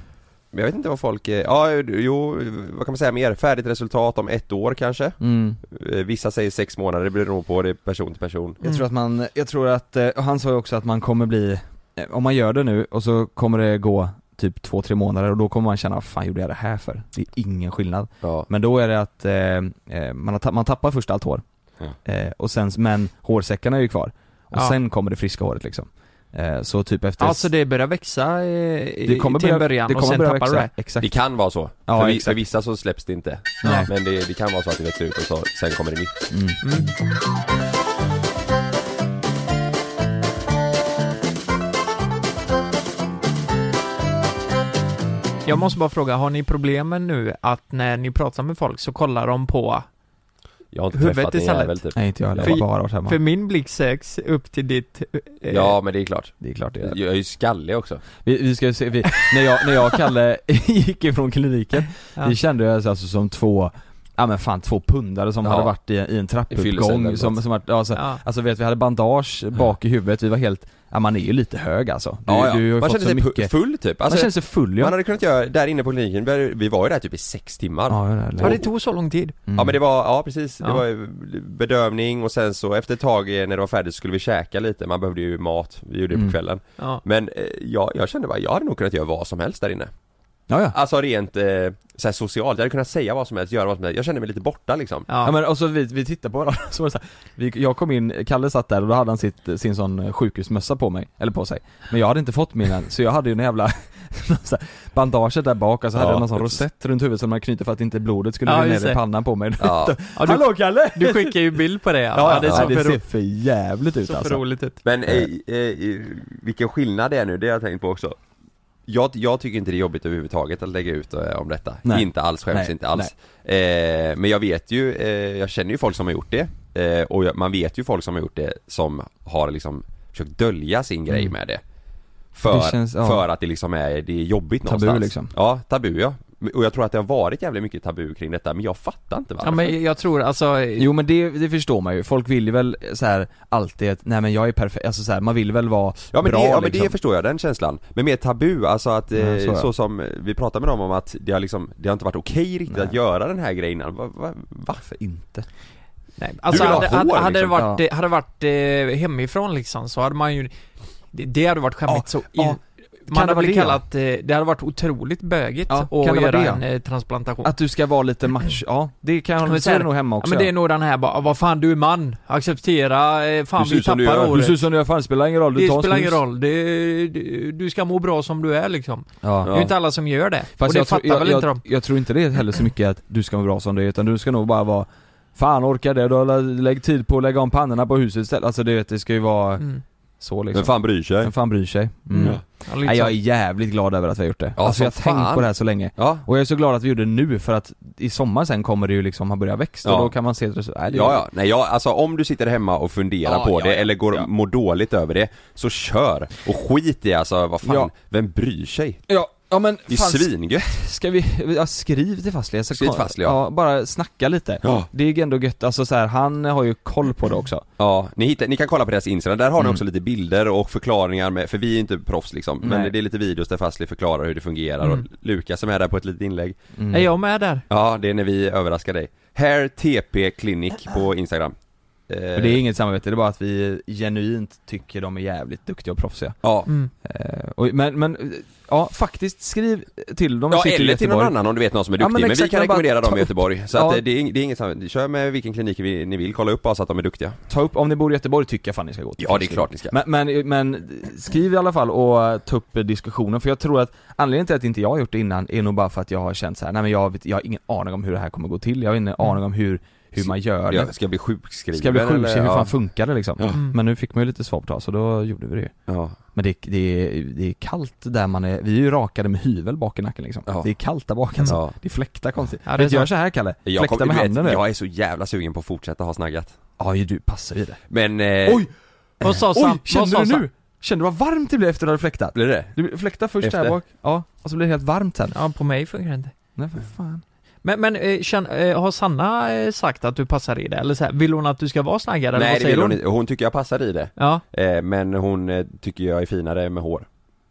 S1: Men jag vet inte vad folk, eh, ja jo, vad kan man säga mer? Färdigt resultat om ett år kanske?
S2: Mm.
S1: Eh, Vissa säger sex månader, det beror nog på, det är person till person
S2: Jag
S3: Mm.
S2: tror att man, jag tror att, eh, och han sa ju också att man kommer bli, eh, om man gör det nu och så kommer det gå typ två, tre månader och då kommer man känna, vad fan gjorde jag det här för? Det är ingen skillnad.
S1: Ja,
S2: Men då är det att eh, eh, man, har tapp, man tappar först allt hår,
S1: Ja.
S2: eh, och sen, men hårsäckarna är ju kvar. Och
S3: Ja.
S2: sen kommer det friska håret liksom. Eh, så typ efter
S3: Alltså det börjar växa eh,
S2: det kommer
S3: till
S2: börja,
S3: en början
S2: det
S3: och
S2: kommer
S3: sen
S2: börja
S3: tappar
S2: växa.
S3: du det.
S1: det
S2: Exakt.
S1: kan vara så.
S2: Ja,
S1: för, vi,
S2: exakt.
S1: för vissa så släpps det inte.
S2: Nej.
S1: Men det, det kan vara så att det växer ut och så, sen kommer det nytt.
S2: Mm.
S3: Mm. Jag måste bara fråga, har ni problemen nu att när ni pratar med folk så kollar de på...
S1: Jag har inte
S3: Huvudet
S1: träffat en
S3: istället.
S1: jävel typ.
S2: Nej inte jag heller, jag
S3: För-
S2: har bara varit hemma.
S3: För min blick söks upp till ditt... eh,
S1: Ja men det är klart.
S2: det är klart det är.
S1: Jag är ju skallig också.
S2: Vi, vi ska ju se, vi, när, jag, när jag och Kalle gick ifrån kliniken,
S3: Ja.
S2: vi kände oss alltså som två, ja men fan två pundare som
S1: Ja.
S2: hade varit i, i en
S1: fyllecellen eller
S2: trappuppgång som,
S1: något.
S2: som var, ja, så,
S3: Ja.
S2: Alltså vet vi hade bandage bak i huvudet, vi var helt, ja man är ju lite hög alltså. Du,
S1: Ja, ja.
S2: du har ju
S1: man
S2: fått
S1: känner
S2: så
S1: sig pu-
S2: mycket,
S1: full typ.
S2: man
S1: Alltså,
S2: känner sig full ja.
S1: man hade kunnat göra, där inne på kliniken, vi- vi var ju där typ i sex timmar.
S2: ja, det, Mm.
S3: ja, det tog så lång tid.
S1: Ja men det var, ja precis, det
S3: Ja.
S1: var ju bedövning och sen så efter ett tag eh, när det var färdigt skulle vi käka lite, man behövde ju mat, vi gjorde det på
S2: Mm.
S1: kvällen
S3: Ja.
S1: Men eh, jag, jag kände bara, jag hade nog kunnat göra vad som helst där inne
S2: Ja, ja.
S1: Alltså rent eh, så här socialt, jag hade kunnat säga vad som helst, göra vad som helst, jag kände mig lite borta liksom
S3: Ja.
S2: Ja men och så vi, vi tittade på varandra, så var det så här, vi, jag kom in, Kalle satt där och då hade han sitt, sin sån eh, sjukhusmössa på mig, eller på sig Men jag hade inte fått min än, så jag hade ju en jävla så här, bandaget där bak och så hade
S1: Ja,
S2: jag någon sån
S1: precis.
S2: rosett runt huvudet som man knyter för att inte blodet skulle
S3: Ja,
S2: rinna
S3: just
S2: ner i
S3: det.
S2: pannan på mig
S1: Ja.
S3: Ja, du,
S2: Hallå Kalle!
S3: du skickar ju bild på det alltså. ja.
S2: Ja,
S3: det
S2: ja,
S3: är
S2: det
S3: så för
S2: ser
S3: ro-
S2: för jävligt ut
S3: så för
S2: alltså
S3: roligt ut.
S1: Men eh, eh, vilken skillnad det är nu, det har jag tänkt på också jag, jag tycker inte det är jobbigt överhuvudtaget att lägga ut eh, om detta,
S2: Nej.
S1: inte alls, skäms
S2: Nej,
S1: inte alls eh, Men jag vet ju, eh, jag känner ju folk som har gjort det eh, Och jag, man vet ju folk som har gjort det som har liksom försökt dölja sin grej
S2: Mm.
S1: med det För,
S2: Det känns- ja.
S1: för att det liksom är, det är jobbigt
S2: Tabu,
S1: någonstans
S2: liksom.
S1: Ja, tabu ja Och jag tror att det har varit jävligt mycket tabu kring detta, men jag fattar inte varför
S3: Ja men jag tror alltså,
S2: Jo men det, det förstår man ju, folk vill ju väl så här alltid att, nej men jag är perfekt, alltså så här, man vill väl vara
S1: Ja men,
S2: bra
S1: det, ja, men
S2: liksom.
S1: det förstår jag, den känslan. Men mer tabu, alltså att, eh,
S2: Ja, så
S1: så,
S2: ja.
S1: som vi pratade med dem om att det har liksom, det har inte varit okej riktigt
S2: Nej. Liksom.
S1: att göra den här grejen va, va, Varför?
S2: Inte
S3: Nej, alltså
S1: vill ha
S3: hade,
S1: hår,
S3: hade, hade det
S1: liksom.
S3: varit, eh, hade det varit eh, hemifrån liksom så hade man ju Det, det hade varit skämmigt
S2: Ja,
S3: så in,
S2: ja.
S3: Man hade
S2: det vara
S3: blivit
S2: det?
S3: kallat, eh, det hade varit otroligt bögigt
S2: Ja,
S3: att
S2: kan det vara
S3: göra
S2: det?
S3: en eh, transplantation
S2: Att du ska vara lite match, ja det kan jag,
S3: Men
S2: så är
S3: sen-
S2: det nog hemma
S3: Ja
S2: också
S3: men det är nog den här bara, "Ah, vad fan du är man, acceptera, eh, fan
S1: Du ser
S3: vi
S1: ut som du
S3: tappar
S1: gör.
S2: Du
S3: håret
S2: ser ut som du gör, fan det spelar ingen roll, du
S3: Det
S2: tar en
S3: spelar ingen
S2: snus.
S3: roll, det, det, du ska må bra som du är liksom
S2: Ja.
S3: Det är ju inte alla som gör det, och
S2: Fast
S3: det
S2: jag,
S3: fattar
S2: tror, jag,
S3: väl
S2: jag,
S3: inte de
S2: jag tror inte det är heller så mycket att du ska vara bra som du är, utan du ska nog bara vara Fan orkar det, då lä- lägg tid på att lägga om pannorna på huset istället. Alltså du vet, det ska ju vara
S3: mm.
S2: så liksom.
S1: Vem fan bryr sig?
S2: Vem fan bryr sig? Mm.
S3: Ja. Ja, lite
S2: Nej, jag är
S3: så.
S2: jävligt glad över att vi har gjort det.
S1: Liksom. Ja,
S2: alltså
S1: som
S2: jag har tänkt
S1: fan.
S2: på det här så länge.
S1: Ja,
S2: Och jag är så glad att vi gjorde det nu för att i sommar sen kommer det ju liksom ha börjat växa
S1: Ja.
S2: och då kan man se det så, nej, det är-
S1: ja, ja. Nej, jag, alltså om du sitter hemma och funderar
S2: Ja,
S1: på
S2: ja,
S1: det
S2: ja,
S1: eller går,
S2: ja.
S1: mår dåligt över det, så kör! Och skit i alltså, vad fan,
S2: Ja.
S1: vem bryr sig?
S2: ja. Ja men
S1: Det är
S2: fan,
S1: svingött!
S2: Ska vi, ja, skriv till Fastlia så
S1: Skriv till Fastlia, ja.
S2: bara snacka lite.
S1: Ja.
S2: Det är ju ändå gött, alltså så här, han har ju koll på det också.
S1: Ja, ni, hittar, ni kan kolla på deras Instagram, där har ni
S2: Mm.
S1: också lite bilder och förklaringar med, för vi är inte proffs liksom,
S2: Nej.
S1: men det är lite videos där Fastly förklarar hur det fungerar och
S3: Mm.
S1: Lukas som är där på ett litet inlägg
S2: Mm.
S3: Är jag med där?
S1: Ja, det är när vi överraskar dig. Hair TP
S2: Äh,
S1: Clinic på Instagram. Eh,
S2: Och det är inget samarbete, det är bara att vi genuint tycker de är jävligt duktiga och proffsiga.
S1: Ja.
S3: Mm.
S2: Eh, och, men, men, eh, ja faktiskt skriv till dem
S1: Ja,
S2: sitter i
S1: eller till någon
S2: Göteborg.
S1: annan om du vet någon som är
S2: Ja,
S1: duktig,
S2: men
S1: men, vi
S2: exakt,
S1: kan
S2: men bara
S1: rekommendera
S2: ta
S1: dem i
S2: upp-
S1: Göteborg. Så
S2: Ja.
S1: att eh, det, är, det är inget samarbete. Kör med vilken klinik vi, ni vill, kolla upp bara så att de är duktiga.
S2: Ta upp, om ni bor i Göteborg tycker jag fan ni ska gå till
S1: Ja, det är
S2: Fastlia.
S1: klart ni ska.
S2: Men, men, men skriv i alla fall och ta upp diskussionen för jag tror att anledningen till att inte jag har gjort det innan är nog bara för att jag har känt så här, nej men jag, vet, jag har ingen aning om hur det här kommer gå till, jag har ingen aning om hur, hur man gör det.
S1: Ja, ska Mm. jag bli sjukskriven
S2: Ska jag bli
S1: eller?
S2: sjukskriven, hur
S1: Ja.
S2: fan funkar det liksom?
S3: Mm.
S2: Men nu fick man ju lite svar på tag, så då gjorde vi det ju.
S1: Ja.
S2: Men det, det, är- det är kallt där man är, vi är ju rakade med hyvel bak i nacken liksom.
S1: Ja. Mm.
S2: Det är kallt där bak alltså.
S1: Ja.
S2: Det fläktar konstigt.
S3: Ja, det är
S2: Vet du,
S3: sant.
S2: gör så här Kalle,
S1: Jag,
S2: fläkta
S1: kom,
S2: med
S1: du
S2: handen
S1: vet,
S2: nu.
S1: jag är så jävla sugen på att fortsätta ha snaggat.
S2: Ja ju du, passar i det.
S1: Men... Eh,
S2: Oj!
S3: Vad sa Sam?
S2: Oj,
S3: Vad sa
S2: kände du
S3: Sam?
S2: nu? Kände du vad varmt det blev efter att du hade fläktat?
S1: Blir det?
S2: Du fläktar först här
S1: Efter.
S2: bak, ja, och så blir det helt varmt sen.
S3: Ja, på mig funkar det inte
S2: Nej för fan.
S3: Men, men eh, känn, eh, har Sanna eh, sagt att du passar i det? Eller så här, vill hon att du ska vara snaggare? eller
S1: Nej,
S3: vad
S1: det
S3: säger
S1: vill hon inte. Hon tycker jag passar i det.
S3: Ja,
S1: Eh, men hon eh, tycker jag är finare med hår.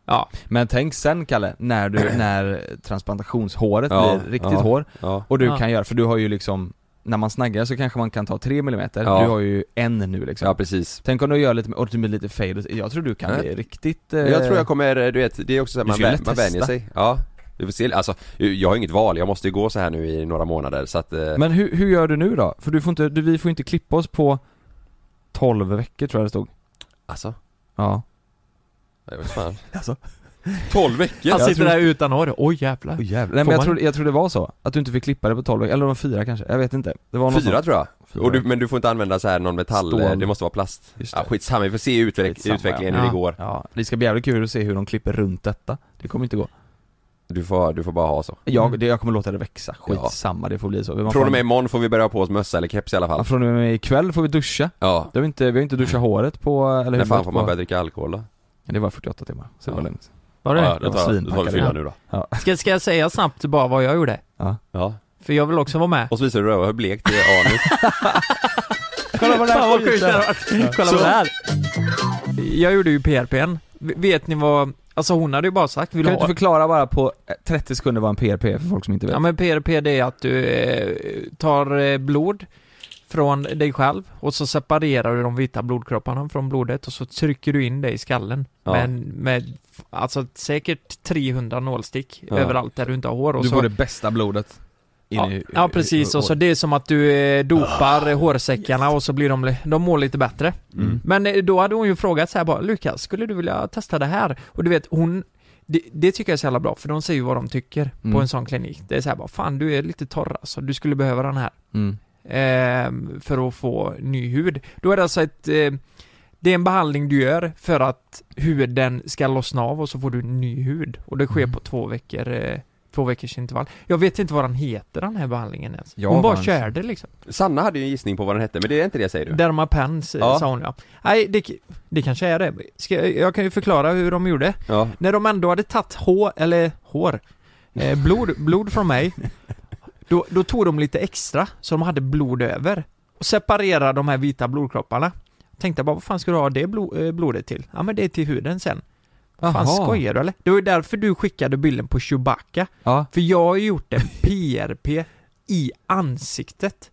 S3: ja.
S2: Men tänk sen Kalle, när du, när transplantationshåret
S1: Ja,
S2: blir riktigt
S1: ja.
S2: hår
S1: Ja.
S2: och du
S3: Ja.
S2: kan göra, för du har ju liksom, när man snaggar så kanske man kan ta 3 mm,
S1: Ja.
S2: du har ju en nu liksom.
S1: Ja, precis.
S2: Tänk om du gör lite, och du blir lite fade, jag tror du kan
S1: Nej.
S2: bli riktigt... Eh,
S1: Jag tror jag kommer, du vet, det är också så här,
S2: Du
S1: man,
S2: skulle
S1: vä- man
S2: testa.
S1: vänjer sig Ja, vi får se, alltså jag har inget val, jag måste ju gå så här nu i några månader så att eh,
S2: Men hur, hur gör du nu då? För du får inte, du, vi får inte klippa oss på 12 veckor tror jag det stod.
S1: Alltså,
S2: Ja.
S1: jag vet fan
S2: Alltså.
S1: 12 veckor?
S3: Han
S2: Jag
S3: sitter
S2: tror-
S3: där utan hår, oj jävlar
S2: Oh, jävlar. Nej men jag
S3: man?
S2: tror, jag tror det var så, att du inte fick klippa det på 12 veckor, eller de fyra kanske, jag vet inte. Det var någon
S1: Fyra
S2: sån-
S1: tror jag,
S2: Fyra.
S1: och du, men du får inte använda så här någon metall,
S2: Stål.
S1: eh, det måste vara plast
S2: Just det.
S1: ja, Skitsamma, vi får se utveck-
S2: Skitsamma,
S1: utvecklingen
S2: ja.
S1: hur det går
S2: Ja, det ska bli jävligt kul att se hur de klipper runt detta. Det kommer inte gå.
S1: du får, du får bara ha så
S2: Jag,
S3: Mm.
S2: det, jag kommer låta det växa, skitsamma, det får bli så. Man
S1: Från och
S2: får-
S1: med imorgon får vi börja på oss mössa eller keps i alla
S2: ja,
S1: fall
S2: från och med ikväll får vi duscha.
S1: Ja,
S2: Det har vi, inte, vi har inte duschat håret på, eller
S1: när
S2: huvudet
S1: fan får Mm. man
S2: på-
S1: börja dricka alkohol då?
S2: Det var 48 timmar, så det var
S1: Ja.
S2: lugnt.
S3: Var det
S1: Ja,
S3: det?
S1: då tar, jag- då tar vi
S2: Svinpackade.
S1: fyra nu då
S3: Ska, ska jag säga snabbt bara vad jag gjorde?
S1: Ja,
S3: För jag vill också vara med
S1: och så visar du hur blekt det är anus
S2: Kolla vad
S3: Fan vad sjukt det hade varit! Kolla på det här! Jag gjorde ju PRPn, V- vet ni vad, alltså hon hade ju bara sagt vill
S2: Kan du
S3: du ha
S2: inte förklara bara på eh, 30 sekunder vad en PRP är för folk som inte vet?
S3: Ja men PRP det är att du eh, tar eh, blod från dig själv och så separerar du de vita blodkropparna från blodet och så trycker du in det i skallen.
S1: Ja.
S3: Men med alltså säkert 300 nålstick
S1: Ja.
S3: överallt där du inte har hår och
S2: Du
S3: så
S2: får det bästa blodet in
S3: Ja,
S2: i, Ah,
S3: ja precis, och så det är som att du eh, dopar eh, hårsäckarna och så blir de, li- de mår lite bättre.
S1: Mm.
S3: Men eh, då hade hon ju frågat så här bara, Lukas, skulle du vilja testa det här? Och du vet, hon, det, det tycker jag är så jävla bra, för de säger ju vad de tycker
S2: Mm.
S3: på en sån klinik. Det är så här bara, fan du är lite torr alltså, du skulle behöva den här
S2: Mm.
S3: ehm, för att få ny hud. Då är det alltså ett, eh, det är en behandling du gör för att huden ska lossna av och så får du ny hud. Och det sker
S2: Mm.
S3: på två veckor, eh, två veckors intervall. Jag vet inte vad den heter den här behandlingen ens.
S2: Ja,
S3: hon bara
S2: vad-
S3: körde liksom.
S1: Sanna hade ju en gissning på vad den hette, men det är inte det säger du?
S3: Dermapens
S1: Ja.
S3: ja. sa hon ja. Nej, det, det kanske är det. Ska, jag- jag kan ju förklara hur de gjorde.
S1: Ja.
S3: När de ändå hade tagit hår, eller hår, eh, blod, blod från mig då, då tog de lite extra, så de hade blod över och separerade de här vita blodkropparna Tänkte bara, vad fan ska du ha det blo- eh, blodet till? Ja men det är till huden sen Vad Fan
S2: Jaha.
S3: skojar du eller? Det var ju därför du skickade bilden på Chewbacca
S2: Ja.
S3: För jag har ju gjort en PRP i ansiktet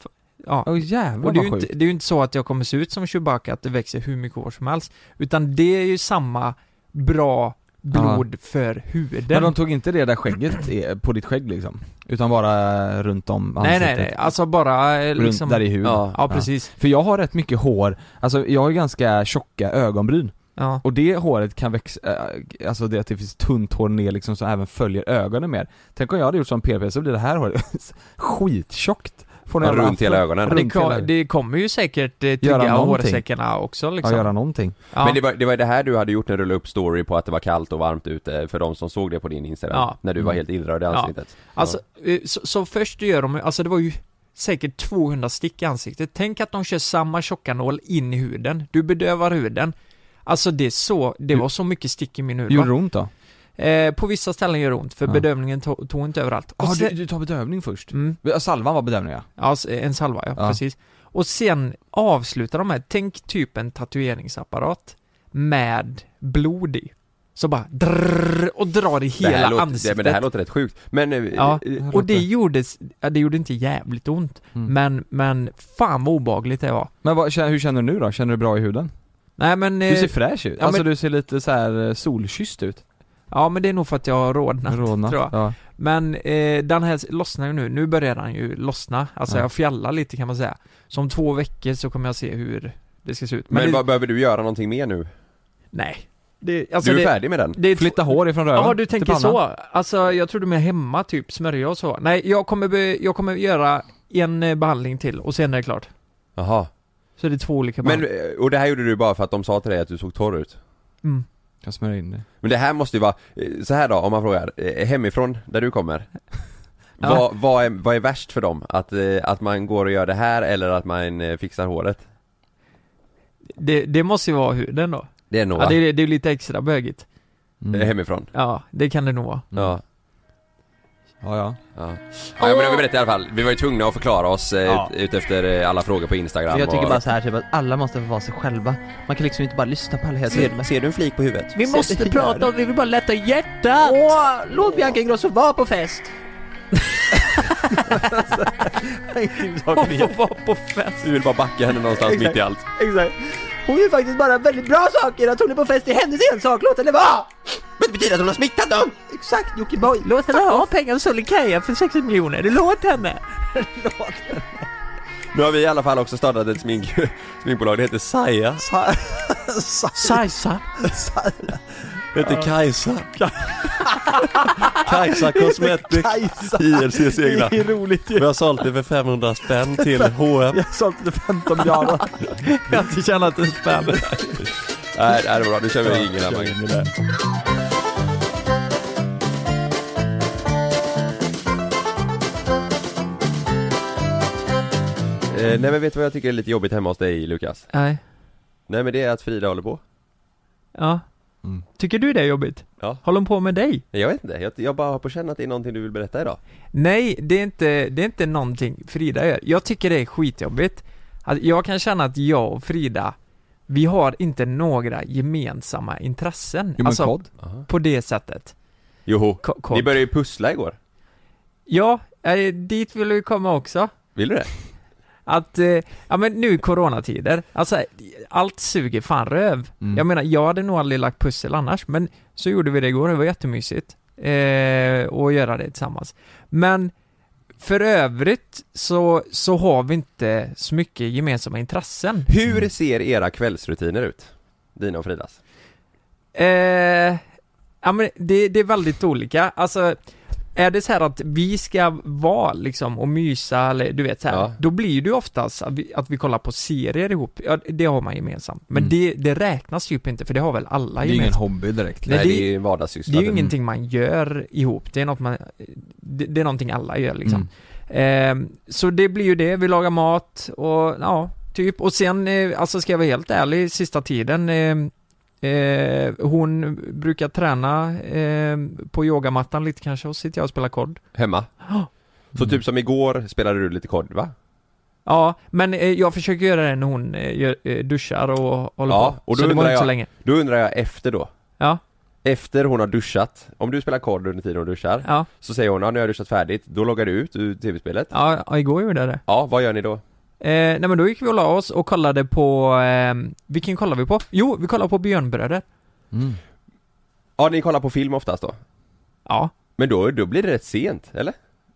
S3: F- Ja,
S2: Åh jävlar
S3: och det är, ju
S2: vad sjukt.
S3: inte, det är ju inte så att jag kommer se ut som Chewbacca, att det växer hur mycket hår som helst. Utan det är ju samma bra blod för
S2: Men
S3: huden.
S2: de tog inte det där skägget är- på ditt skägg liksom? Utan bara runt om
S3: nej,
S2: ansiktet?
S3: nej, nej. Alltså bara eh,
S2: Runt
S3: liksom...
S2: där i huden?
S1: Ja.
S3: Ja, precis.
S2: För jag har rätt mycket hår, alltså jag har ju ganska tjocka ögonbryn
S3: Ja.
S2: Och det håret kan växa, äh, alltså det att det finns tunt hår ner liksom som även följer ögonen mer Tänk om jag hade gjort som PP så blir det här håret skittjockt Får
S1: Ja, runt hela ögonen.
S3: Men Det,
S2: runt hela
S3: ko-
S2: huden.
S3: det kommer ju säkert eh,
S2: Göra
S3: trigga
S2: någonting.
S3: hårsäckarna också
S2: Ja,
S3: liksom.
S2: göra någonting
S3: Ja.
S1: Men det var, det var det här du hade gjort när du la upp story på att det var kallt och varmt ute för de som såg det på din Instagram.
S3: Ja.
S1: När du var
S2: Mm.
S1: helt inrörd i ansiktet.
S3: Alltså, eh, så, så först gör de, alltså det var ju säkert 200 stick i ansiktet. Tänk att de kör samma tjocka nål in i huden. Du bedövar huden. Alltså det är så, det var så mycket stick i min hud. va?
S2: Gjorde det ont då?
S3: Eh, på vissa ställen gör det ont, för
S2: Ja.
S3: bedövningen to- tog inte överallt. Och
S2: Ja, du,
S3: sen,
S2: du tar bedövning först?
S3: mm,
S2: Ja, Salvan var bedövning ja.
S3: ja, s- eh, en salva, ja,
S2: Ja.
S3: precis. Och sen avslutar de här, tänk typ en tatueringsapparat med blod i. Så bara drrrr, och drar i
S1: det här
S3: hela
S1: låter,
S3: ansiktet.
S1: Det, men det här låter rätt sjukt. Men, eh,
S3: Ja. Mm.
S1: eh,
S3: och det gjordes, ja, det gjorde inte jävligt ont,
S2: Mm.
S3: men, men fan vad obehagligt det var.
S2: Men vad, hur känner du nu då? Känner du bra i huden?
S3: Nej men,
S2: Du
S3: eh,
S2: ser fräsch ut,
S3: ja,
S2: alltså
S3: men-
S2: du ser lite så här eh, solkysst ut
S3: ja men det är nog för att jag har rodnat.
S2: Rodnat,
S3: tror jag.
S2: ja.
S3: Men eh, den här lossnar ju nu, nu börjar den ju lossna. Alltså
S2: Ja.
S3: jag fjallar lite kan man säga. Så om två veckor så kommer jag se hur det ska se ut.
S1: men
S3: det,
S1: vad behöver du göra någonting mer nu?
S3: nej. Det, alltså
S1: du är
S3: det,
S1: färdig med den?
S3: det är två-
S2: Flytta hår ifrån röven
S3: Ja du
S2: till
S3: tänker
S2: pannan.
S3: så. Alltså jag tror du menar hemma typ, smörja och så. Nej jag kommer, be, jag kommer göra en eh, behandling till och sen är det klart.
S1: Jaha.
S3: Så det är två olika
S1: Men,
S3: behandlingar.
S1: eh, och det här gjorde du bara för att de sa till dig att du såg torr ut?
S3: Mm.
S2: Jag smörjer in det
S1: Men det här måste ju vara, eh, så här då om man frågar, eh, hemifrån där du kommer
S3: Ja.
S1: vad, vad, är, vad är värst för dem? Att, eh, att man går och gör det här eller att man eh, fixar håret?
S3: Det, det måste ju vara huden då.
S1: Det är nog
S3: Ja,
S1: va?
S3: det, är- det är lite extra bögigt.
S1: Eh, hemifrån?
S3: Ja, det kan det nog vara.
S2: Mm.
S1: Ja.
S2: Ja, ja.
S1: Ja. ja men det har vi berättat i alla fall, vi var ju tvungna att förklara oss eh,
S2: Ja.
S1: ut- utefter eh, alla frågor på instagram
S4: För jag tycker
S1: och...
S4: bara så här typ att alla måste få vara sig själva. Man kan liksom inte bara lyssna på alla hela tiden.
S1: ser du en flik på huvudet?
S5: Vi måste prata om det, vi bara lättar hjärtat!
S4: Åh, låt Bianca Ingrosso vara på fest!
S1: Hon får vara på fest! Du vill bara backa henne någonstans mitt i allt
S4: Exakt. Hon gör faktiskt bara väldigt bra saker. Att hon är på fest är hennes ensak, låt henne vara!
S1: Men det betyder att hon har smittat dem!
S4: Exakt Jockiboi!
S5: Låt henne ha pengar och Solikaja för 60 miljoner, låt henne!
S1: Nu har vi i alla fall också startat ett smink, sminkbolag, det heter Saja
S5: Sajsa!
S1: Det heter Kajsa Kajsa Cosmetics
S4: Kajsa!
S1: ILCs egna
S4: Det är roligt
S1: Vi
S4: ju.
S1: har sålt det för 500 spänn till H&M
S4: Jag sålde det 15 miljarder.
S3: Jag har inte tjänat en spänn.
S1: Nej det här är bra, nu kör vi ingen här Mange. eh, Nej men vet du vad jag tycker är lite jobbigt hemma hos dig Lukas?
S3: Nej.
S1: Nej men det är att Frida håller på
S3: Ja.
S2: Mm.
S3: Tycker du det är jobbigt?
S1: Ja.
S3: Håller hon på med dig?
S1: Nej, Jag vet inte, jag, jag bara har på känn att det är någonting du vill berätta idag
S3: Nej, det är inte, det är inte någonting Frida gör. Jag tycker det är skitjobbigt. Att jag kan känna att jag och Frida, vi har inte några gemensamma intressen.
S2: Jo men
S3: alltså,
S2: kod.
S3: på det sättet.
S1: Joho,
S3: Ko- kod.
S1: ni började ju pussla igår
S3: Ja, eh, dit vill vi komma också.
S1: Vill du det?
S3: Att, eh, ja men nu i coronatider, alltså allt suger fan röv.
S2: Mm.
S3: Jag menar, jag hade nog aldrig lagt pussel annars, men så gjorde vi det igår, det var jättemysigt. Eh, att göra det tillsammans. Men för övrigt så, så har vi inte så mycket gemensamma intressen.
S1: Hur ser era kvällsrutiner ut? Dina och Fridas?
S3: Eh, ja men det, det är väldigt olika, alltså är det så här att vi ska vara liksom och mysa eller du vet så här,
S1: Ja.
S3: då blir det ju oftast att vi, att vi kollar på serier ihop, ja det har man gemensamt. Men
S2: Mm.
S3: det, det räknas typ inte för det har väl alla
S2: Det är ju ingen
S3: gemensamt.
S2: hobby direkt
S3: Nej,
S1: Nej,
S3: det-
S1: det är ju vardagssyssla
S3: Det är ju
S1: typ.
S3: ingenting man gör ihop, det är något man, det, det är någonting alla gör liksom.
S2: Mm.
S3: Ehm, så det blir ju det, vi lagar mat och ja, typ. Och sen, eh, alltså ska jag vara helt ärlig, sista tiden eh, eh, Hon brukar träna eh, på yogamattan lite kanske och sitter jag och spelar kod.
S1: Hemma? Så typ som igår spelade du lite kod va?
S3: Ja, men eh, jag försöker göra det när hon eh, gör, eh, duschar och håller
S1: Ja,
S3: på.
S1: och då
S3: så det var
S1: undrar
S3: inte så
S1: jag-
S3: länge.
S1: Då undrar jag efter då
S3: Ja,
S1: Efter hon har duschat, om du spelar kod under tiden hon duschar
S3: ja,
S1: Så säger hon ja, nu har jag duschat färdigt, då loggar du ut ur tv-spelet
S3: ja, ja, igår gjorde jag det.
S1: Ja, vad gör ni då?
S3: Eh, nej men då gick vi och la oss och kollade på, eh, vilken kollade vi på? Jo, vi kollade på Björnbröder.
S2: Mm.
S1: Ja, ni kollar på film oftast då?
S3: Ja.
S1: Men då, då blir det rätt sent, eller?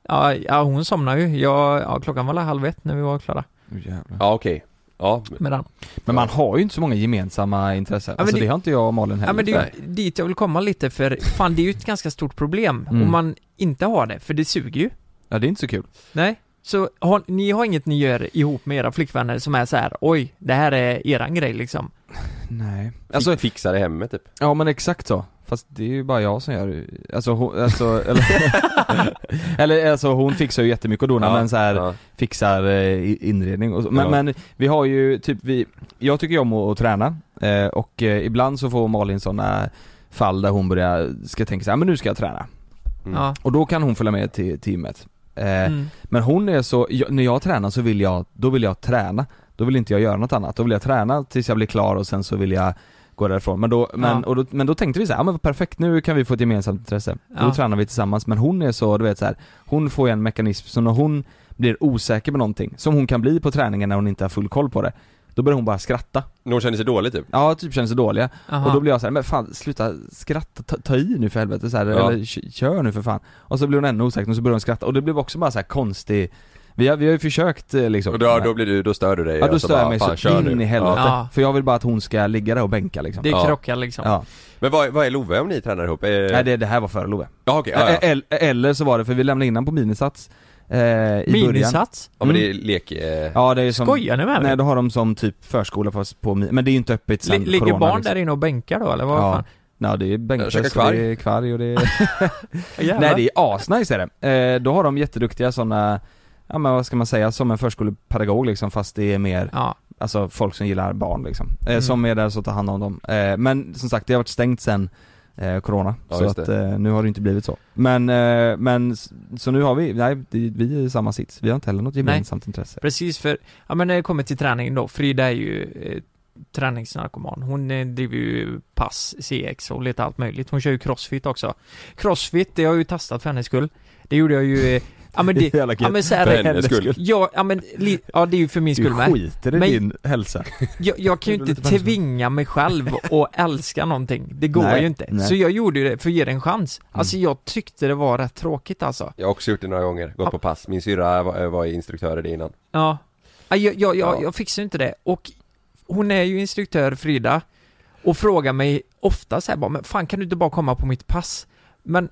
S3: Ja, ja hon somnade ju. Jag, ja, klockan var väl halv ett när vi var klara
S2: Oh, jävlar.
S1: Ja, okej Ja, men-
S3: med den.
S2: Men man har ju inte så många gemensamma intressen,
S3: Ja, men
S2: alltså
S3: det-
S2: det har inte jag och Malin heller
S3: Ja men det är
S1: nej.
S3: ju dit jag vill komma lite för fan det är ju ett ganska stort problem
S2: Mm.
S3: om man inte har det, för det suger ju.
S2: Ja, det är inte så kul
S3: Nej. Så har, ni har inget ni gör ihop med era flickvänner som är så här: oj, det här är eran grej liksom.
S2: Nej
S1: alltså,
S2: Alltså,
S1: fixa det hemma typ
S2: ja men exakt så Fast det är ju bara jag som gör det. alltså, hon, alltså eller, eller alltså hon fixar ju jättemycket och donar men så här,
S1: ja.
S2: fixar eh, i- inredning och så. Men,
S1: Ja.
S2: men vi har ju typ vi, jag tycker ju om att, att träna eh, och eh, ibland så får Malin sådana fall där hon börjar, ska tänka så här, men nu ska jag träna.
S1: Mm.
S3: Ja.
S2: Och då kan hon följa med till teamet. Eh,
S3: Mm.
S2: Men hon är så, jag, när jag tränar så vill jag, då vill jag träna. Då vill inte jag göra något annat. Då vill jag träna tills jag blir klar och sen så vill jag gå därifrån. Men då, men,
S3: Ja.
S2: och då, men då tänkte vi så här, ja men vad perfekt nu kan vi få ett gemensamt intresse.
S3: Ja.
S2: Då tränar vi tillsammans. Men hon är så, du vet så här, hon får ju en mekanism, så när hon blir osäker på någonting, som hon kan bli på träningen när hon inte har full koll på det, då börjar hon bara skratta.
S1: Någon känner sig dålig typ?
S2: Ja, typ känner sig dåliga.
S3: Aha.
S2: Och då blir jag så här, men fan sluta skratta, ta, ta i nu för helvete så här,
S1: Ja.
S2: eller k- kör nu för fan Och så blir hon ännu osäker och så börjar hon skratta och det blev också bara så här konstig Vi har, vi har ju försökt eh, liksom
S1: Och då, då blir du, då stör du dig
S2: Ja då
S1: och
S2: stör jag
S1: bara,
S2: mig
S1: "Fan, kör
S2: så in
S1: nu."
S2: i helvete,
S1: ja.
S3: Ja.
S2: för jag vill bara att hon ska ligga där och bänka liksom
S3: Det
S1: Ja.
S3: krockar liksom.
S2: Ja,
S1: Men vad, vad är Love om ni tränar ihop? Eh,
S2: nej det, det här var före Love
S1: Ja okej, ja, ja.
S2: Eh, el- Eller så var det, för vi lämnade in honom på minisats eh, i början
S3: Minisats?
S1: ja men det är lek... Eh...
S2: mm. Ja det är som,
S3: Skojar ni med mig?
S2: nej då har de som typ förskola fast på mi- men det är ju inte öppet sen
S3: Li- Ligger
S2: corona,
S3: barn
S2: liksom.
S3: där inne och bänkar då eller vad
S2: Ja,
S3: fan?
S2: ja det är bänkpress,
S1: Käka
S2: och
S1: kvarg.
S2: det är kvarg och det är
S3: Jävlar.
S2: Nej det är asnice är det. Eh, då har de jätteduktiga sådana, ja men vad ska man säga, som en förskolepedagog liksom fast det är mer,
S3: Ja,
S2: alltså folk som gillar barn liksom. Eh,
S3: Mm.
S2: Som är där så tar hand om dem. Eh, men som sagt det har varit stängt sen eh, Corona,
S1: Ja,
S2: så
S1: just
S2: att eh, nu har det inte blivit så. Men, eh, men s- så nu har vi, nej det- vi är i samma sits, vi har inte heller något gemensamt intresse.
S3: precis för, ja men när det kommer till träning då, Frida är ju eh, träningsnarkoman. Hon eh, driver ju pass, CX och lite allt möjligt. Hon kör ju crossfit också. Crossfit, det har jag ju testat för hennes skull. Det gjorde jag ju, eh, ja men det,
S2: Jävla
S3: ja
S2: kul.
S3: men så här,
S1: För hennes skull.
S3: Ja, ja men, li, ja det är ju för min skull
S2: Du
S3: med.
S2: skiter i
S3: Men-
S2: din hälsa.
S3: Jag, jag kan ju
S2: Det är
S3: inte
S2: lite människa.
S3: tvinga mig själv att älska någonting. Det går
S2: Nej,
S3: ju inte.
S2: nej. Mm.
S3: Så jag gjorde ju det för att ge det en chans. Alltså jag tyckte det var rätt tråkigt alltså.
S1: Jag har också gjort det några gånger, gått
S3: Ja.
S1: på pass. Min syrra var, eh, var instruktör i det innan.
S3: Ja. Ja, Jag, jag, jag,
S1: Ja.
S3: jag fixar ju inte det. Och hon är ju instruktör, Frida, och frågar mig ofta så här bara, men fan kan du inte bara komma på mitt pass? Men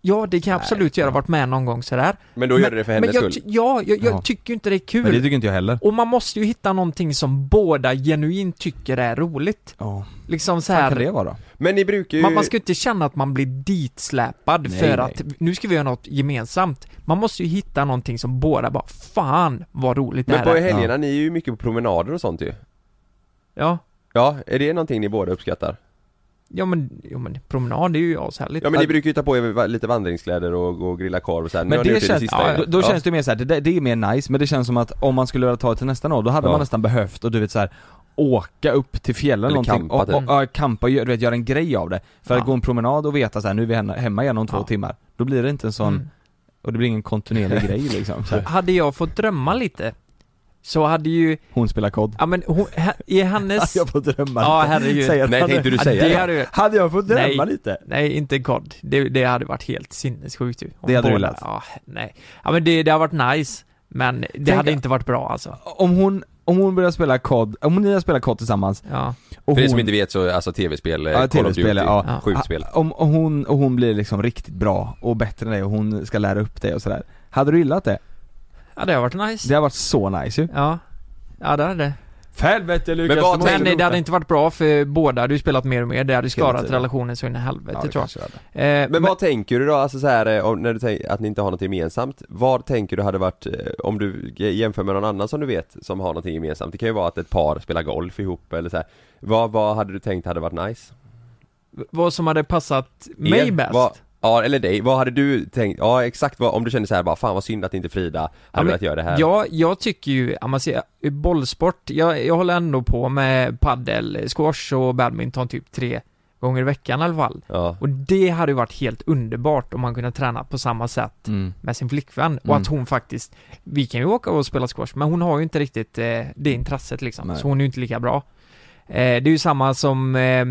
S3: ja, det kan jag absolut göra, varit med någon gång sådär.
S1: Men då gör du det för
S3: Men
S1: hennes
S3: jag,
S1: skull?
S3: ty- ja, jag, jag
S2: Ja.
S3: tycker ju inte det är kul.
S2: Men det tycker inte jag heller.
S3: Och man måste ju hitta någonting som båda genuint tycker är roligt.
S2: Ja,
S3: Liksom så
S2: vad kan
S3: här.
S2: det vara då?
S1: Men ni brukar ju...
S3: Man, man ska ju inte känna att man blir ditsläpad
S2: Nej,
S3: för
S2: nej.
S3: att nu ska vi göra något gemensamt. Man måste ju hitta någonting som båda bara, fan vad roligt det
S1: Men
S3: här
S1: på
S3: är.
S1: helgerna, ni är ju mycket på promenader och sånt ju.
S3: Ja.
S1: Ja, är det någonting ni båda uppskattar?
S3: Ja men, ja, men promenad är ju ashärligt.
S1: Ja men ni brukar ju ta på er va- lite vandringskläder och gå och grilla korv och så här. Nu
S2: Men
S1: har ni
S2: det
S1: gjort
S2: känns,
S1: det
S2: ja,
S1: sista
S2: då, då känns det mer såhär, det, där- det är mer nice, men det känns som att om man skulle vilja ta det till nästa år, då hade
S1: Ja.
S2: man nästan behövt, och du vet såhär Åka upp till fjällen
S1: Eller
S2: någonting
S1: campa,
S2: och, och,
S1: typ.
S2: ja, campa, gör- du vet, göra en grej av det. För
S3: Ja.
S2: att gå en promenad och veta såhär, nu är vi hemma- hemma igen om två
S3: Ja.
S2: timmar. Då blir det inte en sån,
S3: Mm.
S2: och det blir ingen kontinuerlig grej liksom. Så här.
S3: Hade jag fått drömma lite så hade ju,
S2: Hon spelar kod.
S3: ja men hon, he- i hennes...
S7: Jag får drömma
S3: Ja,
S7: lite.
S3: herregud.
S7: Säg att
S1: Nej,
S7: han-
S1: tänkte du
S3: Ja,
S1: säga
S3: det
S1: det?
S3: hade ju,
S7: Hade jag fått drömma
S3: Nej.
S7: lite?
S3: Nej, inte God. Det, det hade varit helt sinnessjukt ju. Om
S2: Det hade du
S3: båda-
S2: velat.
S3: Ja, nej. Ja men det, det har varit nice, men det hade inte varit bra alltså.
S2: Om hon, om hon börjar spela kod, om ni har spelat kod tillsammans
S3: Ja.
S2: och
S1: För er
S2: hon,
S1: som inte vet så, alltså tv-spel, eh,
S2: Ja,
S1: Call of Duty,
S2: tv-spel, ja.
S3: Ja.
S1: sjukt spel
S2: Ah, Om och hon, och hon blir liksom riktigt bra och bättre än dig och hon ska lära upp dig och sådär. Hade du gillat det?
S3: Ja det har varit nice.
S2: Det har varit så nice ju.
S3: Ja. Ja det hade det.
S2: Helvete
S1: Men vad
S3: Men
S1: tänkte
S3: det hade inte varit bra för båda hade ju spelat mer och mer, det hade ju skadat relationen så in i helvete
S2: Ja, det
S3: tror jag.
S2: kanske hade.
S3: Eh,
S1: Men vad tänker du då, alltså så här, eh, om, när du tänker att ni inte har något gemensamt, vad tänker du hade varit, eh, om du j- jämför med någon annan som du vet som har någonting gemensamt? Det kan ju vara att ett par spelar golf ihop eller så här. Vad, vad hade du tänkt hade varit nice?
S3: vad som hade passat mig
S1: Er,
S3: bäst?
S1: Vad, ja, eller dig, vad hade du tänkt, ja exakt vad, om du kände så här bara, fan vad synd att inte Frida hade
S3: men-
S1: velat göra det här
S3: Ja, jag tycker ju, ja, man ser, eh, bollsport, jag, jag håller ändå på med paddel, eh, squash och badminton typ tre gånger i veckan i alla fall.
S1: Ja.
S3: Och det hade ju varit helt underbart om man kunde träna på samma sätt
S2: Mm.
S3: med sin flickvän och
S2: Mm.
S3: att hon faktiskt, vi kan ju åka och spela squash men hon har ju inte riktigt eh, det intresset liksom,
S2: Nej.
S3: så hon är ju inte lika bra. Eh, det är ju samma som eh,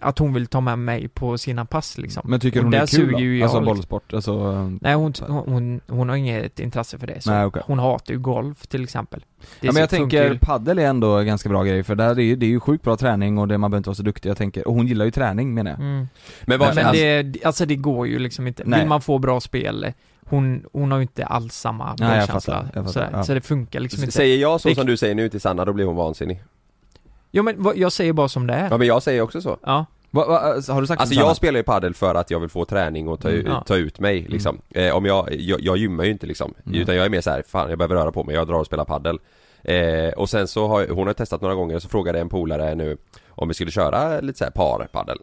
S3: att hon vill ta med mig på sina pass liksom.
S2: Men tycker
S3: Och
S2: hon det
S3: där
S2: är kul
S3: suger ju
S2: då?
S3: jag
S2: Alltså
S3: liksom.
S2: bollsport, alltså... um,
S3: Nej hon, hon, hon har inget intresse för det så
S2: Nej, okej.
S3: hon hatar ju golf till exempel. Det
S2: Ja, men jag
S3: så- funkar
S2: tänker
S3: ju-
S2: paddel är ändå en ganska bra grej för där är ju, det är ju sjukt bra träning och det, man behöver inte vara så duktig jag tänker, och hon gillar ju träning menar jag.
S3: Mm.
S1: Men vad,
S3: Men
S1: alltså,
S3: det, alltså det går ju liksom inte.
S2: Nej.
S3: Vill man få bra spel, hon, hon har ju inte alls samma
S2: Nej, jag
S3: bollkänsla.
S2: fattar, jag fattar,
S3: sådär.
S2: ja.
S3: Så det funkar liksom inte.
S1: säger jag så
S3: Det-
S1: som du säger nu till Sanna, då blir hon vansinnig
S3: Jo men vad, jag säger bara som det är.
S1: Ja men jag säger också så
S3: Ja.
S2: Va, va, alltså, har du sagt
S1: Alltså
S2: till Sanna?
S1: jag spelar ju padel för att jag vill få träning och ta,
S2: Mm,
S3: ja.
S1: ta ut mig liksom. eh, Om jag, jag, jag gymmar ju inte liksom.
S2: Mm.
S1: Utan jag är mer så här, fan jag behöver röra på mig, jag drar och spelar padel. Eh, och sen så har hon har testat några gånger, så frågade en polare nu om vi skulle köra lite så här par padel.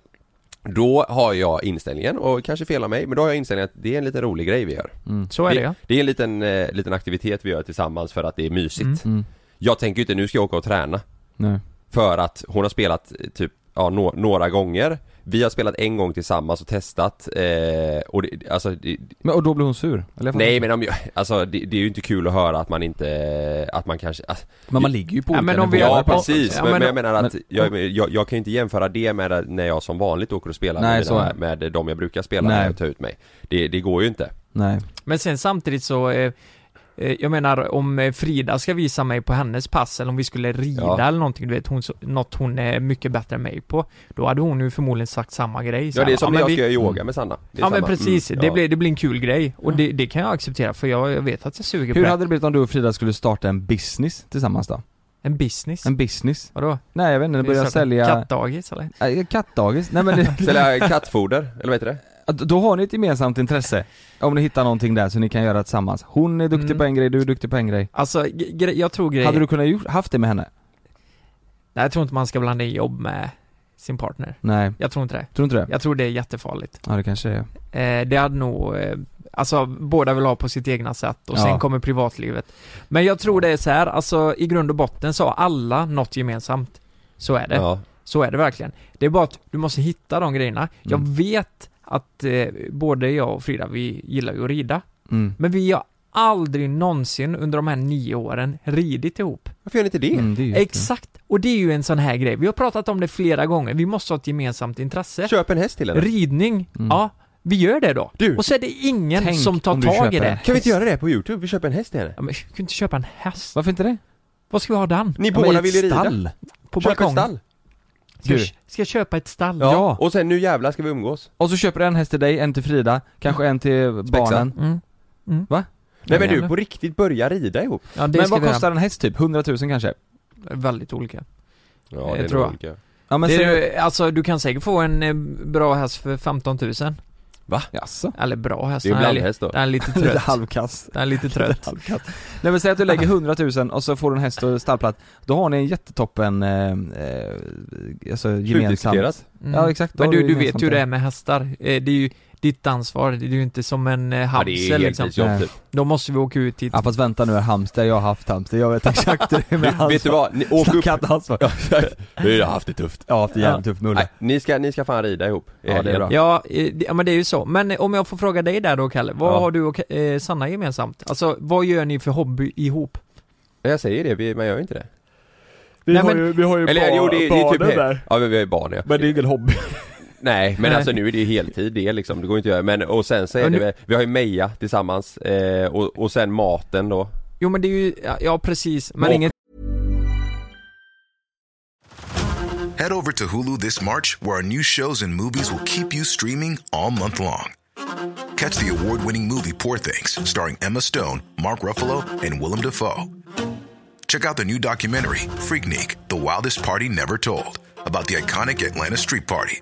S1: Då har jag inställningen, och kanske fel av mig, men då har jag inställningen att det är en liten rolig grej vi gör.
S2: Mm.
S3: Så är det,
S1: det,
S3: ja.
S1: det är en liten, eh, liten aktivitet vi gör tillsammans för att det är mysigt.
S2: Mm.
S1: Jag tänker ju inte, nu ska jag åka och träna.
S2: Nej.
S1: För att hon har spelat eh, typ, ja, nå- några gånger Vi har spelat en gång tillsammans och testat eh, och det, alltså, det,
S2: Men, och då blir hon sur? Eller jag fattar
S1: Nej
S2: inte.
S1: men om jag, alltså det, det är ju inte kul att höra att man inte, att man kanske alltså,
S2: men man ligger ju på
S3: Ja,
S2: olika
S3: men om vi-
S2: nivåer
S1: Ja
S2: på-
S1: precis,
S3: ja,
S1: men,
S3: men-
S1: men jag menar att
S2: men-
S1: jag, jag, jag kan ju inte jämföra det med att- när jag som vanligt åker och spelar
S2: Nej,
S1: med,
S2: så är
S1: mina,
S2: det.
S1: med de jag brukar spela
S2: Nej.
S1: med och ta ut mig Det, det går ju inte
S2: Nej.
S3: Men sen samtidigt så, eh, eh, jag menar om eh, Frida ska visa mig på hennes pass eller om vi skulle rida
S1: Ja.
S3: eller någonting, du vet, hon, så- något hon är mycket bättre än mig på. Då hade hon ju förmodligen sagt samma grej. Så
S1: Ja det är
S3: här,
S1: som när
S3: men
S1: jag
S3: vi-
S1: ska göra yoga med Sanna Det är
S3: Ja men
S1: samma.
S3: precis,
S1: Mm,
S3: det,
S1: ja.
S3: blir, det blir en kul grej. Och det, det kan jag acceptera för jag, jag vet att jag suger
S2: Hur
S3: på
S2: hade det blivit om du och Frida skulle starta en business tillsammans då?
S3: det. En business.
S2: En business?
S3: Vadå?
S2: Nej jag vet inte, börja
S3: Visar-
S2: sälja...
S3: Kattdagis eller?
S2: Äh, Kattdagis? Nej men det,
S1: Sälja kattfoder, eller vad heter det?
S2: då har ni ett gemensamt intresse. Om ni hittar någonting där så ni kan göra tillsammans. Hon är duktig
S3: Mm.
S2: på en grej, du är duktig på en grej.
S3: Alltså, gre- gre- jag tror grejer...
S2: Hade du kunnat gjort, haft det med henne?
S3: Nej, jag tror inte man ska blanda i jobb med sin partner.
S2: Nej,
S3: Jag tror inte det.
S2: tror inte det?
S3: Jag tror det är jättefarligt.
S2: Ja det kanske är.
S3: Eh, det hade nog... Eh, alltså, båda vill ha på sitt egna sätt och
S2: Ja.
S3: sen kommer privatlivet. Men jag tror det är så här, alltså i grund och botten så har alla något gemensamt. Så är det.
S1: Ja,
S3: Så är det verkligen. Det är bara att du måste hitta de grejerna.
S2: Mm.
S3: Jag vet att eh, både jag och Frida, vi gillar ju att rida.
S2: Mm.
S3: Men vi har aldrig någonsin under de här nio åren ridit ihop.
S1: varför gör ni inte det?
S2: Mm, det är ju
S3: Exakt! Och det är ju en sån här grej. Vi har pratat om det flera gånger. Vi måste ha ett gemensamt intresse.
S1: Köp en häst till henne
S3: Ridning, ja. Vi gör det då.
S1: Du.
S3: Och så är det ingen
S2: Mm. Tänk
S3: som tar
S2: om du
S3: tag i
S2: köper
S3: det.
S2: en.
S1: Kan vi inte göra det på youtube? Vi köper en häst till henne
S3: Ja, men, vi kan inte köpa en häst.
S2: Varför inte det?
S3: Vad ska vi ha den?
S1: Ni
S2: Ja, men i
S1: båda
S2: ett
S1: vill ju rida
S2: stall.
S3: På
S1: Köp ett
S3: balkongen?
S1: stall!
S3: Ska,
S2: Du.
S3: jag- ska jag köpa ett stall?
S1: Ja.
S2: Ja.
S1: och sen nu jävlar ska vi umgås
S2: Och så köper du en häst till dig, en till Frida, kanske en till barnen.
S3: Mm.
S1: Nej men
S3: men
S1: du,
S3: gärna.
S1: på riktigt börja rida ihop
S3: ja det
S2: men
S3: ska
S2: vad
S3: vi
S2: kostar en häst typ? 100 000 kanske?
S3: göra. Väldigt olika.
S1: Ja
S3: det är tror nog jag.
S2: Ja men
S3: det
S2: ser
S3: är,
S2: du...
S3: ju- alltså du kan säkert få en eh, bra häst för 15 000.
S2: Jaså?
S3: Eller bra häst,
S1: Det är ju
S3: den, är, li-
S1: blandhäst då
S3: den är lite
S7: Lite
S3: trött.
S7: halvkass.
S3: den är lite trött.
S2: Nej men säg att du lägger 100 000 och så får du en häst och stallplats. Då har ni en jättetoppen, eh, eh, alltså gemensamt.
S1: Slutdiskuterat
S3: Mm.
S2: Ja exakt. Då liksom
S3: Men
S2: har
S3: du, du
S2: gemensamt
S3: vet ju hur det är med hästar. Eh, Det är ju ditt ansvar, det är ju inte som en eh,
S1: Ja
S3: hamster
S1: det är ju
S3: liksom.
S1: heltidsjobb
S2: Nej.
S1: typ
S3: Då måste vi åka ut hit.
S2: Ja fast vänta nu, hamster, jag har haft hamster, jag vet exakt hur det är med
S1: du,
S2: hamster.
S1: Vet du vad, ni, åk upp
S2: Stackarn hamster.
S1: Ja, exakt. Vi har haft det tufft
S2: Jag har haft det jävligt tufft med Olle.
S1: Nej, ni ska, ni ska fan rida ihop i
S2: Ja, det är
S1: helgen.
S2: bra.
S3: Ja, eh, det- ja, men det är ju så. Men eh, om jag får fråga dig där då Kalle, vad
S1: Ja.
S3: har du och Ka- eh, Sanna gemensamt? Alltså, vad gör ni för hobby ihop?
S1: Nej, jag säger det, vi, man gör ju inte det.
S7: Vi,
S3: Nej,
S7: har,
S3: men-
S7: ju, vi har ju
S1: Eller
S7: ba-
S1: jo, det, det är
S7: barnen
S1: typ he-
S7: där.
S1: Ja, men vi har ju barn ja.
S7: Men det är ingen hobby.
S1: Nej, men
S3: Nej.
S1: alltså nu är det ju heltid det liksom, det går ju inte att göra. Men och sen så är
S3: Ja,
S1: det
S3: nu-
S1: väl, vi har ju Meja tillsammans eh, och, och sen maten då.
S3: Jo men det är ju, ja, ja precis, men
S1: Och-
S3: inget
S8: Head over to Hulu this March, where our new shows and movies will keep you streaming all month long. Catch the award winning movie Poor Things, starring Emma Stone, Mark Ruffalo, and Willem Dafoe. Check out the new documentary, Freaknik The Wildest Party Never Told, about the iconic Atlanta Street Party.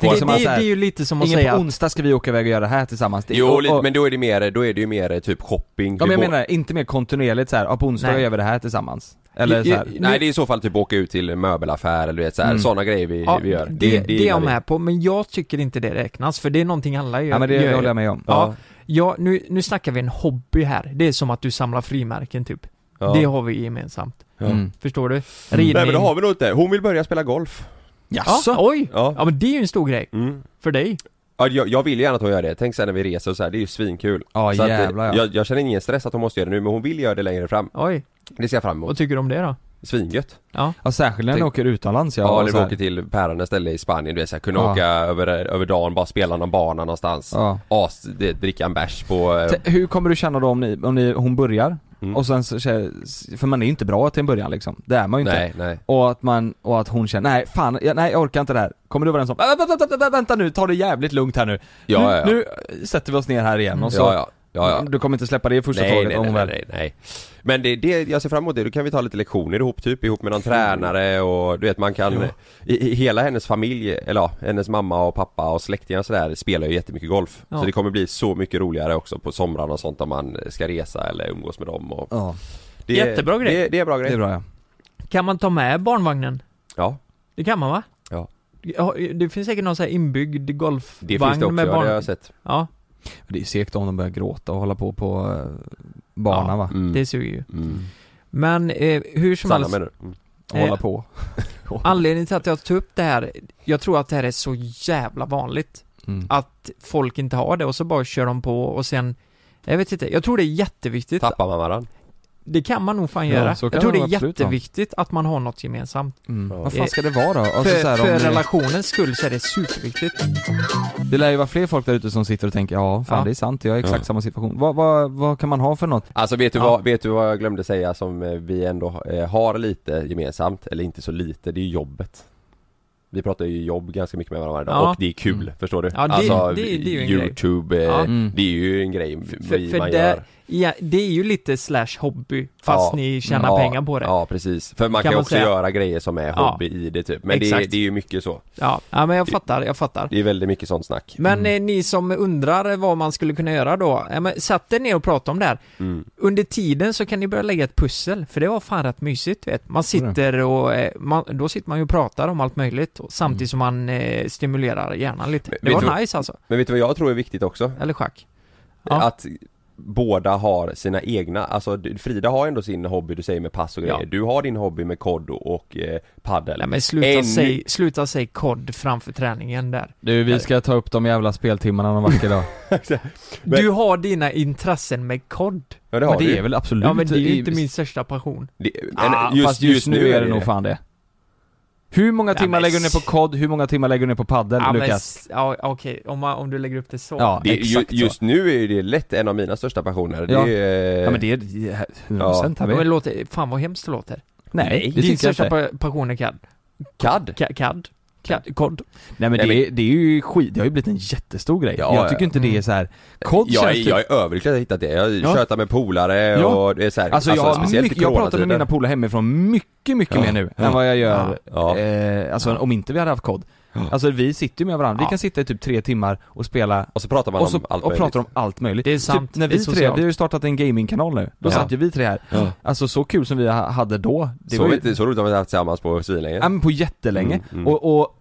S3: det, det,
S2: som man
S3: det,
S2: så här-
S3: är ju lite som att
S2: Ingen
S3: säga
S2: på
S3: att
S2: onsdag ska vi åka iväg och göra det här tillsammans. Det-
S1: Jo,
S2: och-
S1: lite,
S2: och-
S1: men då är det mer, då är det ju mer typ shopping.
S2: Ja
S1: Vi
S2: men jag
S1: bå-
S2: menar inte mer kontinuerligt så här. ja på onsdag
S3: Nej.
S2: gör vi det här tillsammans. Eller så här.
S1: Nej det är i så fall typ åka ut till en möbelaffär eller du vet såhär,
S2: Mm.
S1: sådana grejer vi,
S3: ja,
S1: vi gör.
S3: det, det, är
S1: gillar
S3: jag
S1: vi.
S3: med på, men jag tycker inte det räknas för det är någonting alla gör.
S2: Ja men det,
S3: gör
S2: det
S3: ju.
S2: håller jag med om.
S3: Ja, ja nu, nu snackar vi en hobby här. Det är som att du samlar frimärken typ.
S1: Ja.
S3: Det har vi gemensamt.
S1: Ja.
S2: Mm.
S3: Förstår du? Ridning.
S1: Nej men det har vi nog inte. Hon vill börja spela golf.
S3: ja, oj!
S1: Ja.
S3: Ja men det är ju en stor grej.
S1: Mm.
S3: För dig.
S1: Ja, jag, jag vill gärna att hon gör det. Tänk sen när vi reser och så här, det är ju svinkul.
S2: Ja,
S1: så att, eh,
S2: jävlar, ja.
S1: jag, jag känner ingen stress att hon måste göra det nu men hon vill göra det längre fram.
S3: Oj,
S1: Det ser jag fram emot.
S3: vad tycker du om det då?
S1: Svingött.
S2: Ja särskilt när ni
S1: Tänk-
S2: åker utomlands ja.
S1: Ja,
S2: och
S1: eller
S2: så
S1: vi
S2: här.
S1: åker till pärande ställe i Spanien, du vet såhär, kunna
S2: Ja.
S1: åka över, över dagen, bara spela någon bana någonstans.
S2: Ja.
S1: As, det, dricka en bärs på... eh,
S2: T- Hur kommer du känna då om, ni, om ni, hon börjar?
S1: Mm.
S2: Och sen så, för man är ju inte bra till en början liksom. Det är man ju inte.
S1: nej, nej.
S2: Och att man, och att hon känner, nej fan, jag, nej jag orkar inte det här. Kommer du vara den som, "Vä- vä- vä- vä- vänta nu, ta det jävligt lugnt här nu.
S1: Ja,
S2: nu,
S1: ja, ja.
S2: nu sätter vi oss ner här igen och så,
S1: Ja, ja. Ja, ja.
S2: du kommer inte släppa det i första
S1: Nej,
S2: taget
S1: nej,
S2: om
S1: nej,
S2: hon
S1: nej,
S2: väl.
S1: nej, nej. Men det, det, jag ser fram emot det, då kan vi ta lite lektioner ihop typ, ihop med någon tränare och du vet man kan i, i, Hela hennes familj, eller ja, hennes mamma och pappa och släktingar och sådär spelar ju jättemycket golf
S3: Ja.
S1: Så det kommer bli så mycket roligare också på somrarna och sånt om man ska resa eller umgås med dem och
S2: Ja,
S1: det,
S5: Jättebra grej.
S1: Det, det är bra
S2: det är
S1: grej
S2: bra ja.
S3: Kan man ta med barnvagnen?
S1: Ja,
S3: Det kan man va?
S1: Ja.
S3: Ja, Det finns säkert någon så här inbyggd golfvagn
S1: det finns det också,
S3: med
S1: det har jag
S3: barn.
S1: sett
S3: Ja,
S2: Det är segt om de börjar gråta och hålla på på eh, banan
S3: Ja.
S2: va?
S1: mm.
S3: det suger ju.
S1: mm.
S3: Men eh, hur som
S1: Sanna
S3: helst.
S1: menar du? Mm.
S2: Och
S3: Eh,
S2: hålla på.
S3: Anledningen till att jag tog upp det här, jag tror att det här är så jävla vanligt.
S2: Mm.
S3: Att folk inte har det och så bara kör de på och sen, jag vet inte, jag tror det är jätteviktigt.
S1: Tappar man varandra?
S3: Det kan man nog fan
S2: Ja,
S3: göra.
S2: så kan
S3: jag tror det
S2: det
S3: är
S2: nog absolut vara.
S3: jätteviktigt att man har något gemensamt.
S2: Mm.
S1: Ja.
S2: Vad fan ska det vara då? Alltså,
S3: för
S2: så här, om
S3: för
S2: ni-
S3: relationens skull så är det superviktigt.
S2: Det lär ju vara fler folk där ute som sitter och tänker ja, fan
S3: Ja.
S2: det är sant, jag är i exakt
S1: Ja.
S2: samma situation. Vad, vad, vad kan man ha för något?
S1: Alltså vet du,
S3: Ja.
S1: vad, vet du vad jag glömde säga som eh, vi ändå eh, har lite gemensamt, eller inte så lite, det är ju jobbet Vi pratar ju jobb ganska mycket med varandra varje dag
S3: Ja. Mm.
S1: och det är kul, förstår du?
S3: Ja, det-
S1: alltså
S3: det- det är ju en grej.
S1: Youtube, eh,
S3: Ja.
S2: Mm.
S1: det är ju en grej vi,
S3: för
S1: man
S3: det-
S1: gör
S3: Ja, det är ju lite slash hobby, fast
S1: Ja.
S3: ni tjänar
S1: ja,
S3: pengar på det. Ja.
S1: Ja precis, för man
S3: Kan
S1: kan,
S3: man
S1: också
S3: säga.
S1: göra grejer som är
S3: Ja.
S1: hobby i det typ Men det,
S3: Exakt.
S1: det är ju mycket så,
S3: Ja. men jag fattar, jag
S2: Mm.
S3: fattar.
S1: det är väldigt mycket sånt snack
S3: Men eh, ni som undrar vad man skulle kunna göra då, ja, men satt er ner och prata om det här.
S1: mm.
S3: Under tiden så kan ni börja lägga ett pussel, för det var fan rätt mysigt vet. Man sitter och, eh, man, då sitter man ju och pratar om allt möjligt och samtidigt som man eh, stimulerar hjärnan lite.
S1: Men
S3: Det
S1: vet
S3: var
S1: du-
S3: nice alltså.
S1: Men vet du vad jag tror är viktigt också?
S3: Eller schack. Ja.
S1: Att båda har sina egna, alltså du- Frida har ändå sin hobby du säger med pass och grejer
S3: Ja.
S1: Du har din hobby med kod och eh, paddel
S3: Nej men sluta
S1: Ännu-
S3: säg, sluta säg kod framför träningen där.
S2: Du, vi ska ta upp de jävla speltimmarna någon vacker dag.
S1: Men-
S3: Du har dina intressen med kod.
S1: Ja det har
S2: Men
S1: du
S2: det
S1: ju.
S2: är väl absolut
S3: Ja men det är ju
S2: i-
S3: inte min största passion.
S1: det, men
S2: Ah, just, fast just, nu är det nog fan det. Hur många
S3: Ja,
S2: timmar
S3: men
S2: lägger du ner på COD? Hur många timmar lägger du ner på paddel,
S3: Ja, men,
S2: Lukas?
S3: s- ja okej, om, man- om du lägger upp det så.
S2: Ja,
S1: det, är ju,
S2: exakt
S1: Just
S2: så.
S1: nu är ju det lätt en av mina största passioner
S2: Ja.
S1: det är, eh,
S2: Ja men det är 100% ja.
S3: Ja, men
S2: här
S3: det låter, fan vad hemskt det låter.
S2: Nej, det
S3: Din
S2: tycker jag
S3: största
S2: inte.
S3: pa- passion är CAD.
S1: CAD?
S3: Ka- CAD? CAD? COD?
S2: Nej men
S1: Nej,
S2: det, är- det är ju skit, det har ju blivit en jättestor grej.
S1: Ja,
S2: jag tycker
S1: ja.
S2: inte det är så här. COD
S1: Jag, är-
S2: känns typ-
S1: jag är överlycklig att jag hittat det, jag
S2: Ja.
S1: tjötar med polare
S2: Ja.
S1: och det är så här,
S2: Alltså, jag, har
S1: speciellt i
S2: mycket, jag pratar med
S1: coronatider.
S2: mina polare hemifrån mycket, mycket
S1: Ja,
S2: mer nu
S1: ja,
S2: än vad jag gör,
S1: ja.
S2: Eh, alltså om inte vi hade haft kod. Alltså vi sitter ju med varandra, vi
S3: Ja.
S2: kan sitta i typ tre timmar och spela
S1: Och så pratar man
S2: och, så,
S1: om allt
S2: och
S1: möjligt.
S2: pratar om allt möjligt.
S3: Det är sant,
S2: Typ, när
S3: det är
S2: vi tre, vi
S3: socialt.
S2: har ju startat en gamingkanal nu, då
S1: Ja.
S2: satt ju vi tre här.
S1: Ja.
S2: Alltså så kul som vi ha- hade då, det
S1: så,
S2: var ju,
S1: inte, så roligt har vi inte haft tillsammans på svinlänge
S2: ja, men på jättelänge.
S1: Mm, mm.
S2: Och, och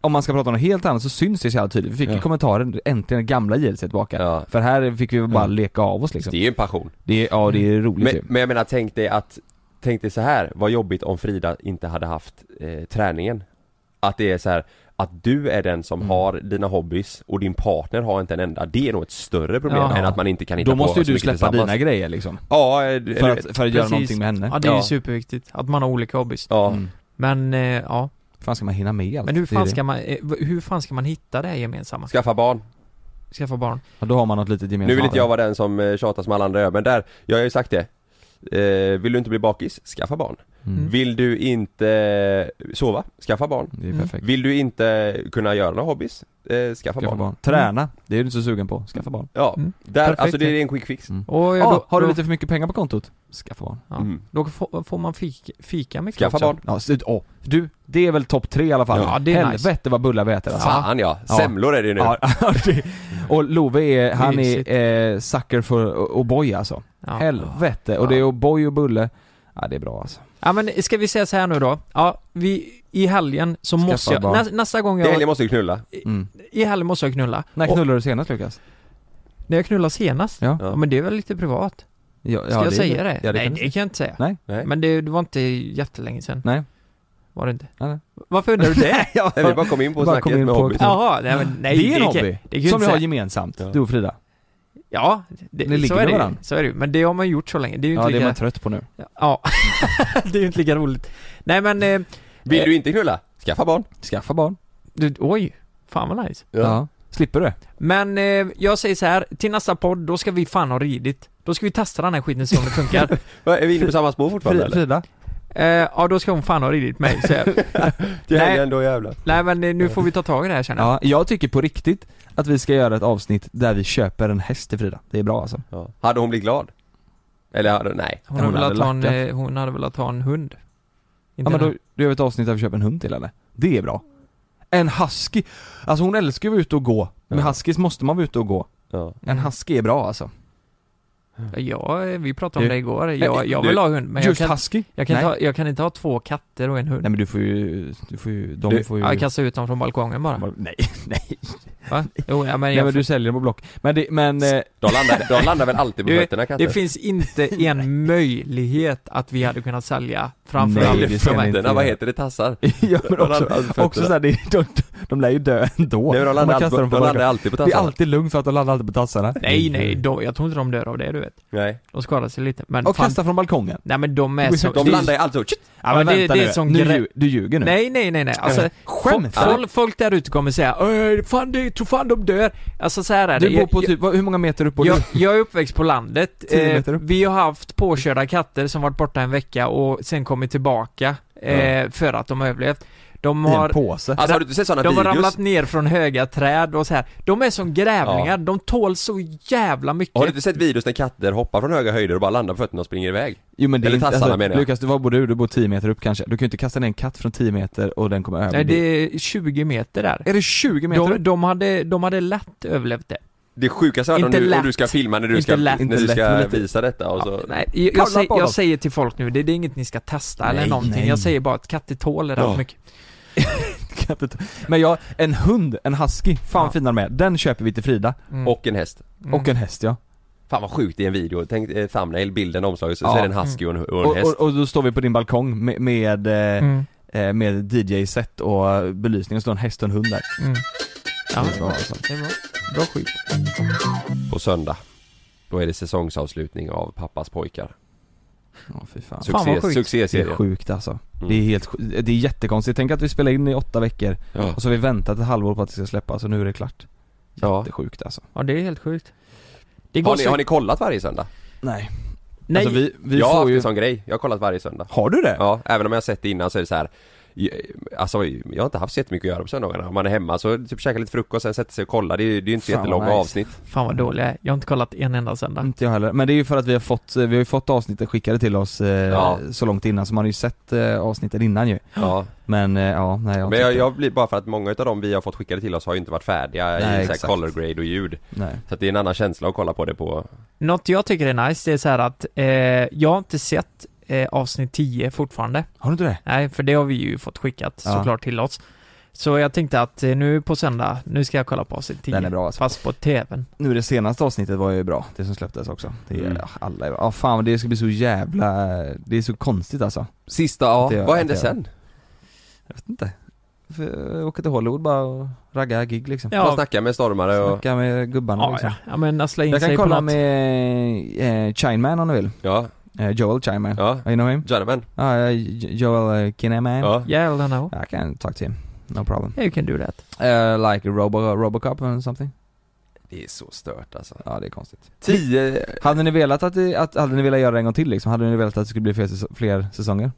S2: om man ska prata om något helt annat så syns det så jävla tydligt. Vi fick ju kommentarer, äntligen gamla JLC tillbaka.
S1: Ja.
S2: För här fick vi bara leka av oss
S1: Det
S2: liksom.
S1: är ju en passion
S2: Det är, ja det är roligt
S1: men,
S2: ju.
S1: men jag menar tänk dig att tänk dig så här, vad jobbigt om Frida inte hade haft eh, träningen Att det är så här att du är den
S2: Mm.
S1: som har dina hobbys och din partner har inte en enda, det är nog ett större problem
S3: Ja.
S1: än att man inte kan hitta
S2: Då måste
S1: på
S2: ju
S1: så
S2: du
S1: mycket
S2: släppa
S1: tillsammans.
S2: dina grejer liksom.
S1: Ja, eh, du-
S2: För att, för att göra
S3: Precis.
S2: någonting med henne.
S3: Ja det är ju
S1: Ja.
S3: superviktigt, att man har olika hobbies
S1: ja.
S2: Mm.
S3: Men, eh, ja
S2: fan ska man hinna med allt?
S3: Men hur
S2: Det är
S3: fan
S2: det.
S3: ska man, eh, v- hur fan ska man hitta det här gemensamma?
S1: Skaffa barn.
S3: Skaffa barn?
S2: Ja, då har man något litet gemensamt.
S1: Nu vill inte jag vara den som eh, tjatar som alla andra gör, men där, jag har ju sagt det eh, Vill du inte bli bakis? Skaffa barn.
S2: Mm.
S1: Vill du inte eh, sova? Skaffa barn.
S2: Det är
S3: Mm.
S2: perfekt.
S1: Vill du inte kunna göra några hobbys? Eh, skaffa,
S2: Skaffa
S1: barn.
S2: barn. Träna, det är du inte så sugen på. Skaffa barn.
S1: Ja,
S3: Mm.
S1: där,
S3: Perfekt,
S1: alltså det
S3: ja.
S1: är en quick fix.
S2: Mm.
S3: Och
S2: Ja,
S3: då,
S2: har du
S3: då,
S2: lite för mycket pengar på kontot? Skaffa barn.
S3: Ja.
S1: Mm.
S3: då får, får man fika, fika mycket
S1: Skaffa
S3: också.
S1: barn.
S2: Ja, slut. Åh, du, det är väl topp tre i alla fall?
S3: Ja, det är
S2: Helvete vad bullar vi äter alltså.
S1: Fan ja, semlor är det ju nu.
S2: Ja, det- och Love är, han
S3: Mysigt.
S2: är eh, sucker för O'boy alltså.
S3: Ja.
S2: Helvete. Och det är O'boy och Bulle. Ja, det är bra alltså.
S3: Ja men ska vi säga så här nu då? Ja, vi, i helgen så
S2: Skaffa
S3: måste jag,
S2: barn.
S3: nä, nästa gång
S1: Det helgen
S3: jag,
S1: måste du knulla.
S2: Mm.
S3: i helgen måste jag knulla.
S2: När
S3: Och,
S2: knullade du senast Lukas?
S3: när jag knullade senast?
S2: Ja.
S3: ja. men det är väl lite privat?
S2: Ja,
S3: Ska jag säga det?
S2: Ja, det
S3: Nej
S2: kan du
S3: det kan jag inte säga.
S2: Nej.
S1: Nej.
S3: Men det, det var inte jättelänge sedan.
S2: Nej.
S3: Var det inte?
S2: Nej, nej.
S3: Varför undrar du det?
S2: Ja,
S1: Nej, vi bara kom in på
S2: Bara
S1: snacket
S2: kom in
S1: med
S2: på-
S1: hobbys.
S3: Jaha, nej men nej.
S2: det är en
S3: kan-
S2: hobby
S3: det kan jag
S2: som vi
S3: inte
S2: har
S3: säga.
S2: gemensamt,
S1: Ja.
S2: du och Frida.
S3: Ja, det,
S2: Ni ligger
S3: så är
S2: med
S3: det ju.
S2: varandra.
S3: Så är det ju. Men det har man gjort så länge. Det är ju
S2: Ja,
S3: inte
S2: det är
S3: lika...
S2: man trött på nu.
S3: Ja, det är ju inte lika roligt. Nej men, eh,
S1: Vill du inte knulla? Skaffa barn.
S2: Skaffa barn.
S3: du, oj. Fan vad nice.
S2: Ja. Slipper du?
S3: Men eh, jag säger så här, till nästa podd, då ska vi fan ha ridit. Då ska vi testa den här skiten och se om det funkar.
S1: Va, Är vi inne på samma spår fortfarande
S2: Fri-
S1: eller?
S2: Frida?
S3: eh, ja, då ska hon fan ha ridit mig. Så jag,
S1: Till
S3: Nej.
S1: helgen då jävlar.
S3: nej men eh, nu får vi ta tag i det här känner jag.
S2: Ja, jag tycker på riktigt att vi ska göra ett avsnitt där vi köper en häst till Frida. Det är bra alltså.
S1: Ja. Hade hon blivit glad? Eller hade, nej.
S3: Hon, hade
S2: Hon
S3: velat
S2: hade
S3: ha en,
S2: lackat.
S3: eh, hon hade velat ha en hund.
S2: Ja
S3: Inte
S2: men
S3: en-
S2: då, då gör vi ett avsnitt där vi köper en hund till henne. Det är bra. En husky. Alltså hon älskar ju att vara ute och gå. Med
S1: Ja.
S2: huskys måste man vara ute och gå.
S1: Ja.
S2: En
S3: Mm.
S2: husky är bra alltså.
S3: Ja, eh, vi pratade om
S2: Du-
S3: det igår. Jag, jag
S1: du-
S3: vill ha hund, men jag
S2: Just
S3: kan,
S2: husky?
S3: jag, kan
S2: Nej.
S3: inte ha, jag kan inte ha två katter och en hund.
S2: Nej men du får ju, du får ju, de
S1: Du-
S2: får ju...
S3: Ja, jag kastar ut dem från balkongen bara.
S2: Nej, nej.
S3: Va? Jo, ja, men,
S2: Nej
S3: jag,
S2: men du säljer dem på Block. Men det, men... eh,
S1: De landar, de landar väl alltid på
S3: Du,
S1: fötterna katter?
S3: det finns inte en möjlighet att vi hade kunnat sälja framför
S2: Nej,
S3: allt
S2: det ska
S3: för mig.
S2: inte.
S1: Fötterna, vad heter det? Tassar?
S2: ja men
S1: De
S2: också,
S1: landar alltid på
S2: också
S1: fötterna.
S2: såhär, de, de, de lär ju dö ändå.
S1: Nej men de
S2: om man
S1: landar, alltid,
S2: kastar
S1: på-
S2: dem på
S1: de landar
S2: balkongen.
S1: alltid på
S2: Det är
S1: tassarna.
S2: alltid lugnt för att de landar alltid på tassarna.
S3: Nej, nej, de, jag tror inte de dör av det du vet.
S1: Nej.
S3: De skadar sig lite, men
S2: Och
S3: fan,
S2: kasta från balkongen.
S3: Nej men de är så...
S1: De
S3: det är-
S1: landar ju alltid så,
S2: Ja,
S3: men
S2: men
S3: det-
S2: vänta
S3: det är
S2: nu.
S3: som
S2: nu
S3: grä-
S2: ljug, du ljuger nu.
S3: Nej, nej, nej, nej. Alltså, folk,
S2: Skämtar du?
S3: folk, folk där ute kommer säga "Öj, fan det, tror fan de dör. Alltså så här är det.
S2: Du bor på
S3: Jag-
S2: typ, vad- hur många meter upp och
S3: jag, jag är uppväxt på landet. Eh,
S2: Tio meter upp.
S3: vi har haft påkörda katter som varit borta en vecka och sen kommit tillbaka eh, för att de har överlevt. De
S2: I en
S3: har,
S2: påse.
S1: Alltså har du inte sett sådana
S3: de har
S1: videos?
S3: ramlat ner från höga träd och så här. De är som grävlingar, de tål så jävla mycket.
S1: Har du inte sett videos när katter hoppar från höga höjder och bara landar på fötterna och springer iväg?
S2: Jo men det är
S1: Eller
S2: inte, alltså,
S1: tassarna menar jag.
S2: Lukas, du, var bor du? Du bor 10 meter upp kanske? Du kan ju inte kasta ner en katt från 10 meter och den kommer över.
S3: Nej, det
S2: dig.
S3: är 20 meter där.
S2: Är det 20 meter
S3: De,
S2: upp?
S3: de, hade, de hade lätt överlevt det.
S1: Det sjukaste jag hört om
S3: Inte
S1: du, om du
S3: lätt.
S1: ska filma när du
S3: Inte
S1: ska,
S3: lätt.
S1: när
S2: Inte
S1: du
S2: lätt,
S1: ska
S2: men lite-
S1: visa detta och så...
S3: Nej, jag,
S2: Kolla
S3: jag, säger,
S2: på dem.
S3: jag säger till folk nu, det, det är inget ni ska testa eller
S2: Nej,
S3: någonting.
S2: nej.
S3: Jag säger bara att katter tål det rätt
S2: Ja.
S3: mycket.
S2: Kan inte ta- Men jag, en hund, en husky, fan
S3: Ja.
S2: vad fina de är. Den köper vi till Frida.
S3: Mm.
S1: Och en häst.
S2: Och en häst ja.
S1: Fan vad sjukt i en video, tänk eh, thumbnail, bilden, omslaget, så,
S2: Ja.
S1: så är det en husky och en, och en
S2: Och,
S1: häst.
S2: och, och då står vi på din balkong med, med, eh,
S3: Mm.
S2: eh, med DJ-set och eh, belysning och står en häst och en hund där.
S3: Mm. Ja,
S2: Det är bra alltså.
S3: det är bra. Bra skit.
S1: På söndag, då är det säsongsavslutning av Pappas pojkar.
S2: Ja fy fan.
S3: vad
S1: Succé,
S3: sjukt.
S2: Det är
S1: succéserie.
S2: sjukt alltså.
S1: Mm.
S2: Det är helt sj- det är jättekonstigt. Tänk att vi spelar in i åtta veckor
S1: Ja.
S2: och så har vi väntat ett halvår på att det ska släppas och nu är det klart.
S1: Ja.
S2: Det är sjukt alltså.
S3: Ja, det är helt sjukt. Det går
S1: Har, ni,
S3: så...
S1: har ni kollat varje söndag?
S2: Nej.
S3: Nej,
S2: Alltså vi, vi
S1: jag har
S2: får
S1: haft
S2: ju...
S1: en sån grej, jag har kollat varje söndag.
S2: Har du det?
S1: Ja, även om jag har sett det innan så är det så här. eh, Alltså jag har inte haft så jättemycket att göra på söndagarna. Om man är hemma så typ käkar lite frukost, sen sätter sig och kollar. Det är ju det är ju inte så
S2: Fan, vad
S1: jättelånga
S2: nice.
S1: avsnitt.
S3: fan vad dålig jag är. Jag har inte kollat en enda söndag.
S2: Inte jag heller. Men det är ju för att vi har fått, eh, vi har ju fått avsnitten skickade till oss eh,
S1: Ja.
S2: så långt innan så man har ju sett eh, avsnitten innan ju.
S1: Ja.
S2: Men eh, ja, nej jag,
S1: Men jag,
S2: tycker-
S1: jag blir bara för att många utav dem vi har fått skickade till oss har ju inte varit färdiga
S2: Nej,
S1: i så här
S2: exakt.
S1: color grade och ljud.
S2: nej.
S1: Så att det är en annan känsla att kolla på det på...
S3: Något jag tycker är nice, det är så här att eh, jag har inte sett eh, avsnitt 10 fortfarande.
S2: Har du inte det?
S3: Nej, för det har vi ju fått skickat
S2: Ja.
S3: såklart till oss. Så jag tänkte att eh, nu på söndag, nu ska jag kolla på avsnitt 10.
S2: Den är bra alltså.
S3: Fast på TVn.
S2: Nu det senaste avsnittet var ju bra, det som släpptes också. Det är,
S1: Mm.
S2: ja, alla är bra. Ja fan det ska bli så jävla, det är så konstigt alltså.
S1: Sista, ja,
S2: Det gör-
S1: vad hände
S2: det gör.
S1: sen?
S2: Jag vet inte. För- Åka till Hollywood bara och ragga gig liksom.
S1: Man
S3: Ja,
S1: snackar med stormare och...
S2: Snacka med gubbarna
S3: ja,
S2: liksom.
S3: ja. ja men näsla in
S2: Jag
S3: sig
S2: kan
S3: på
S2: kolla
S3: något.
S2: med eh, Chineman om du vill.
S1: Ja,
S2: Eh, Joel Chineman.
S1: ja.
S2: You know him?
S1: Gentlemen.
S2: Ah, eh, Jo- Joel eh, Kinnaman.
S1: Ja.
S3: Yeah, I don't know.
S2: I can talk to him. No problem.
S3: Yeah, you can do that.
S2: Uh, like Robo, Robocop or something?
S1: Det är så stört alltså.
S2: Ja det är konstigt.
S1: Tio...
S2: Hade ni velat att, det- att hade ni velat göra det en gång till liksom? Hade ni velat att det skulle bli fler, säs- fler säsonger?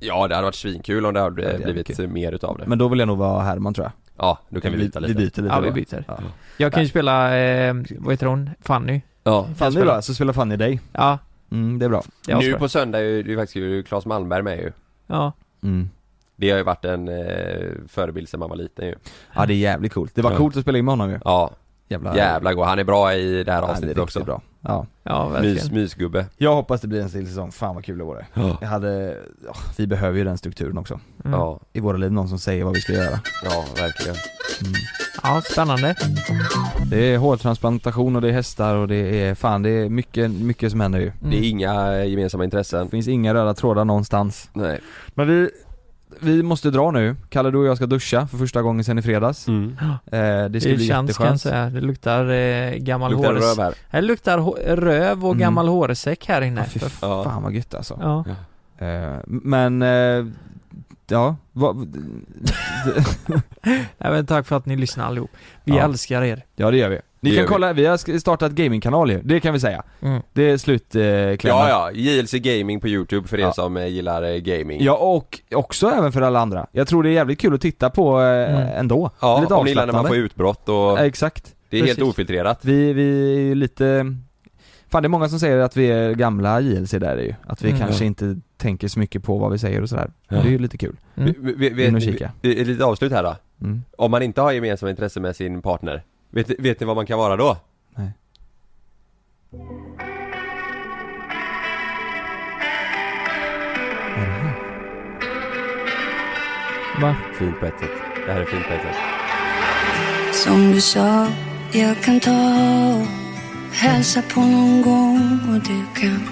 S1: Ja, det hade varit svinkul om det hade
S2: Ja, det hade
S1: blivit
S2: varit
S1: mer utav det.
S2: Men då vill jag nog vara Herman tror jag.
S1: ja, då kan vi Mm. byta lite.
S2: Vi byter lite
S3: Ja, vi
S2: då.
S3: byter.
S2: Ja.
S3: Jag kan ju spela, eh, vad heter hon? Fanny.
S1: Ja.
S3: Kan jag
S2: Fanny
S3: spela?
S2: då, så spelar Fanny dig.
S3: Ja,
S2: Mm, det är bra.
S3: jag
S1: Nu
S3: spelar.
S1: på söndag är ju det är faktiskt ju Claes Malmberg med ju.
S3: Ja.
S2: Mm.
S1: Det har ju varit en eh, förebild sedan man var liten ju.
S2: Ja det är jävligt coolt. Det var
S1: Ja.
S2: coolt att spela in med honom ju.
S1: Ja,
S2: Jävlar.
S1: jävla god. Han är bra i det här
S2: Ja, det är
S1: avsnittet
S2: riktigt
S1: också.
S2: bra. Ja.
S3: Ja,
S1: Mys,
S3: verkligen.
S1: mysgubbe.
S2: Jag hoppas det blir en till säsong, fan vad kul det vore.
S1: Ja.
S2: Jag hade, ja, vi behöver ju den strukturen också.
S3: Mm.
S1: Ja,
S2: I våra liv, någon som säger vad vi ska göra. Mm.
S1: ja verkligen.
S3: Ja, spännande.
S2: Det är hårtransplantation och det är hästar och det är, fan det är mycket, mycket som händer ju.
S3: Mm.
S1: Det är inga gemensamma intressen.
S2: Det finns inga röda trådar någonstans.
S1: Nej.
S2: Men vi, vi måste dra nu. Kalle du och jag ska duscha för första gången sen i fredags. Eh, det ska
S3: Det
S2: bli
S3: känns kan jag
S2: jätteskönt.
S3: säga. Det luktar eh, gammal
S1: Luktar
S3: hårs...
S1: röv här.
S3: Det luktar hå- röv och
S2: Mm.
S3: gammal hårsäck här inne.
S2: Ja, fy
S1: Ja.
S2: fan vad gött alltså.
S3: Ja.
S2: Eh, men, eh, ja, vad,
S3: Även tack för att ni lyssnar allihop. Vi
S2: Ja.
S3: älskar er.
S2: ja det gör vi. Ni
S1: Det
S2: kan
S1: gör vi.
S2: kolla, vi har sk- startat gamingkanal ju, det kan vi säga.
S3: Mm.
S2: Det är slutklämmen. Eh, klämmen.
S1: Ja, ja. JLC Gaming på YouTube för er
S2: Ja.
S1: som eh, gillar eh, gaming.
S2: Ja och också även för alla andra. Jag tror det är jävligt kul att titta på eh,
S3: Mm.
S2: ändå.
S1: Ja,
S2: Lite
S1: om ni gillar när man får
S2: avslappnande.
S1: utbrott och
S2: Eh, Exakt.
S1: det är helt
S3: precis.
S1: ofiltrerat.
S2: Vi, vi är ju lite... Fan det är många som säger att vi är gamla JLC där är ju. Att vi
S3: Mm.
S2: kanske
S1: Ja.
S2: inte tänker så mycket på vad vi säger och sådär.
S1: Ja.
S2: Men Det är ju lite kul.
S3: Mm.
S1: Vi- vi- vi-
S2: In och
S1: vet-
S2: kika.
S1: vi- Lite avslut här då.
S2: Mm.
S1: Om man inte har gemensamma intressen med sin partner, vet, vet ni vad man kan vara då?
S2: Nej.
S3: Va?
S1: Fint på ett sätt. Det här är fint på ett sätt.
S7: Som du sa, jag kan ta och hälsa på någon gång och du kan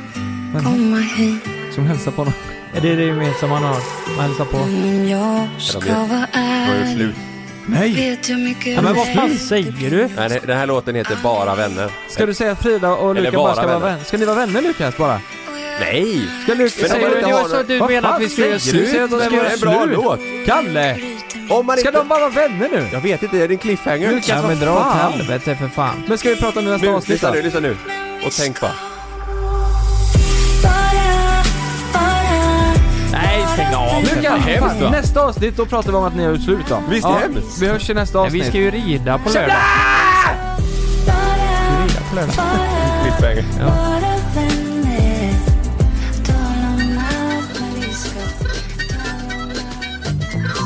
S7: komma hit.
S2: Som hälsar på honom.
S3: Är det det gemensamma man har? Man hälsar på?
S7: Men om jag ska
S1: Eller
S7: vara
S1: Det var ju
S7: ärlig
S1: slut.
S2: Nej!
S7: vet jag mycket
S3: Ja, men vad fan
S7: väl.
S3: säger du?
S1: Nej, det- den här låten heter Bara vänner.
S2: Ska du säga att Frida och
S1: Eller
S2: Lukas bara
S1: vara
S2: ska vara
S1: vänner.
S2: vänner? Ska ni vara vänner Lukas bara?
S1: Nej!
S2: Ska Lukas
S1: Men om
S2: säga
S1: man
S2: att
S1: inte
S3: Det
S1: har
S3: var så att du
S2: Vad
S3: menade
S2: fan
S3: att vi skulle göra
S2: säger du? Du säger
S3: slut?
S2: att de
S1: Det
S2: ska
S1: var
S2: göra
S1: en bra
S2: slut!
S1: låt!
S2: Kalle!
S1: Om man
S2: Ska
S1: inte...
S2: de bara vara vänner nu?
S1: Jag vet inte, är det en cliffhanger?
S2: Lukas,
S3: Ja men
S2: vad
S3: dra åt
S2: fan?
S3: helvete för fan.
S2: Men ska vi prata om nästa
S1: Nu,
S2: avsnitt
S1: lyssna
S2: då?
S1: nu, lyssna nu. Och tänk bara.
S7: Bara, bara.
S3: Nej, stäng av.
S2: Lukas! fan, Nästa avsnitt, då pratar vi om att ni har gjort slut då.
S1: Visst är det hemskt?
S2: Vi hörs i nästa
S3: Nej,
S2: avsnitt.
S3: vi ska ju rida på lördag.
S1: Cliffhanger.
S7: Bara vänner. Tala om allt men vi ska tala om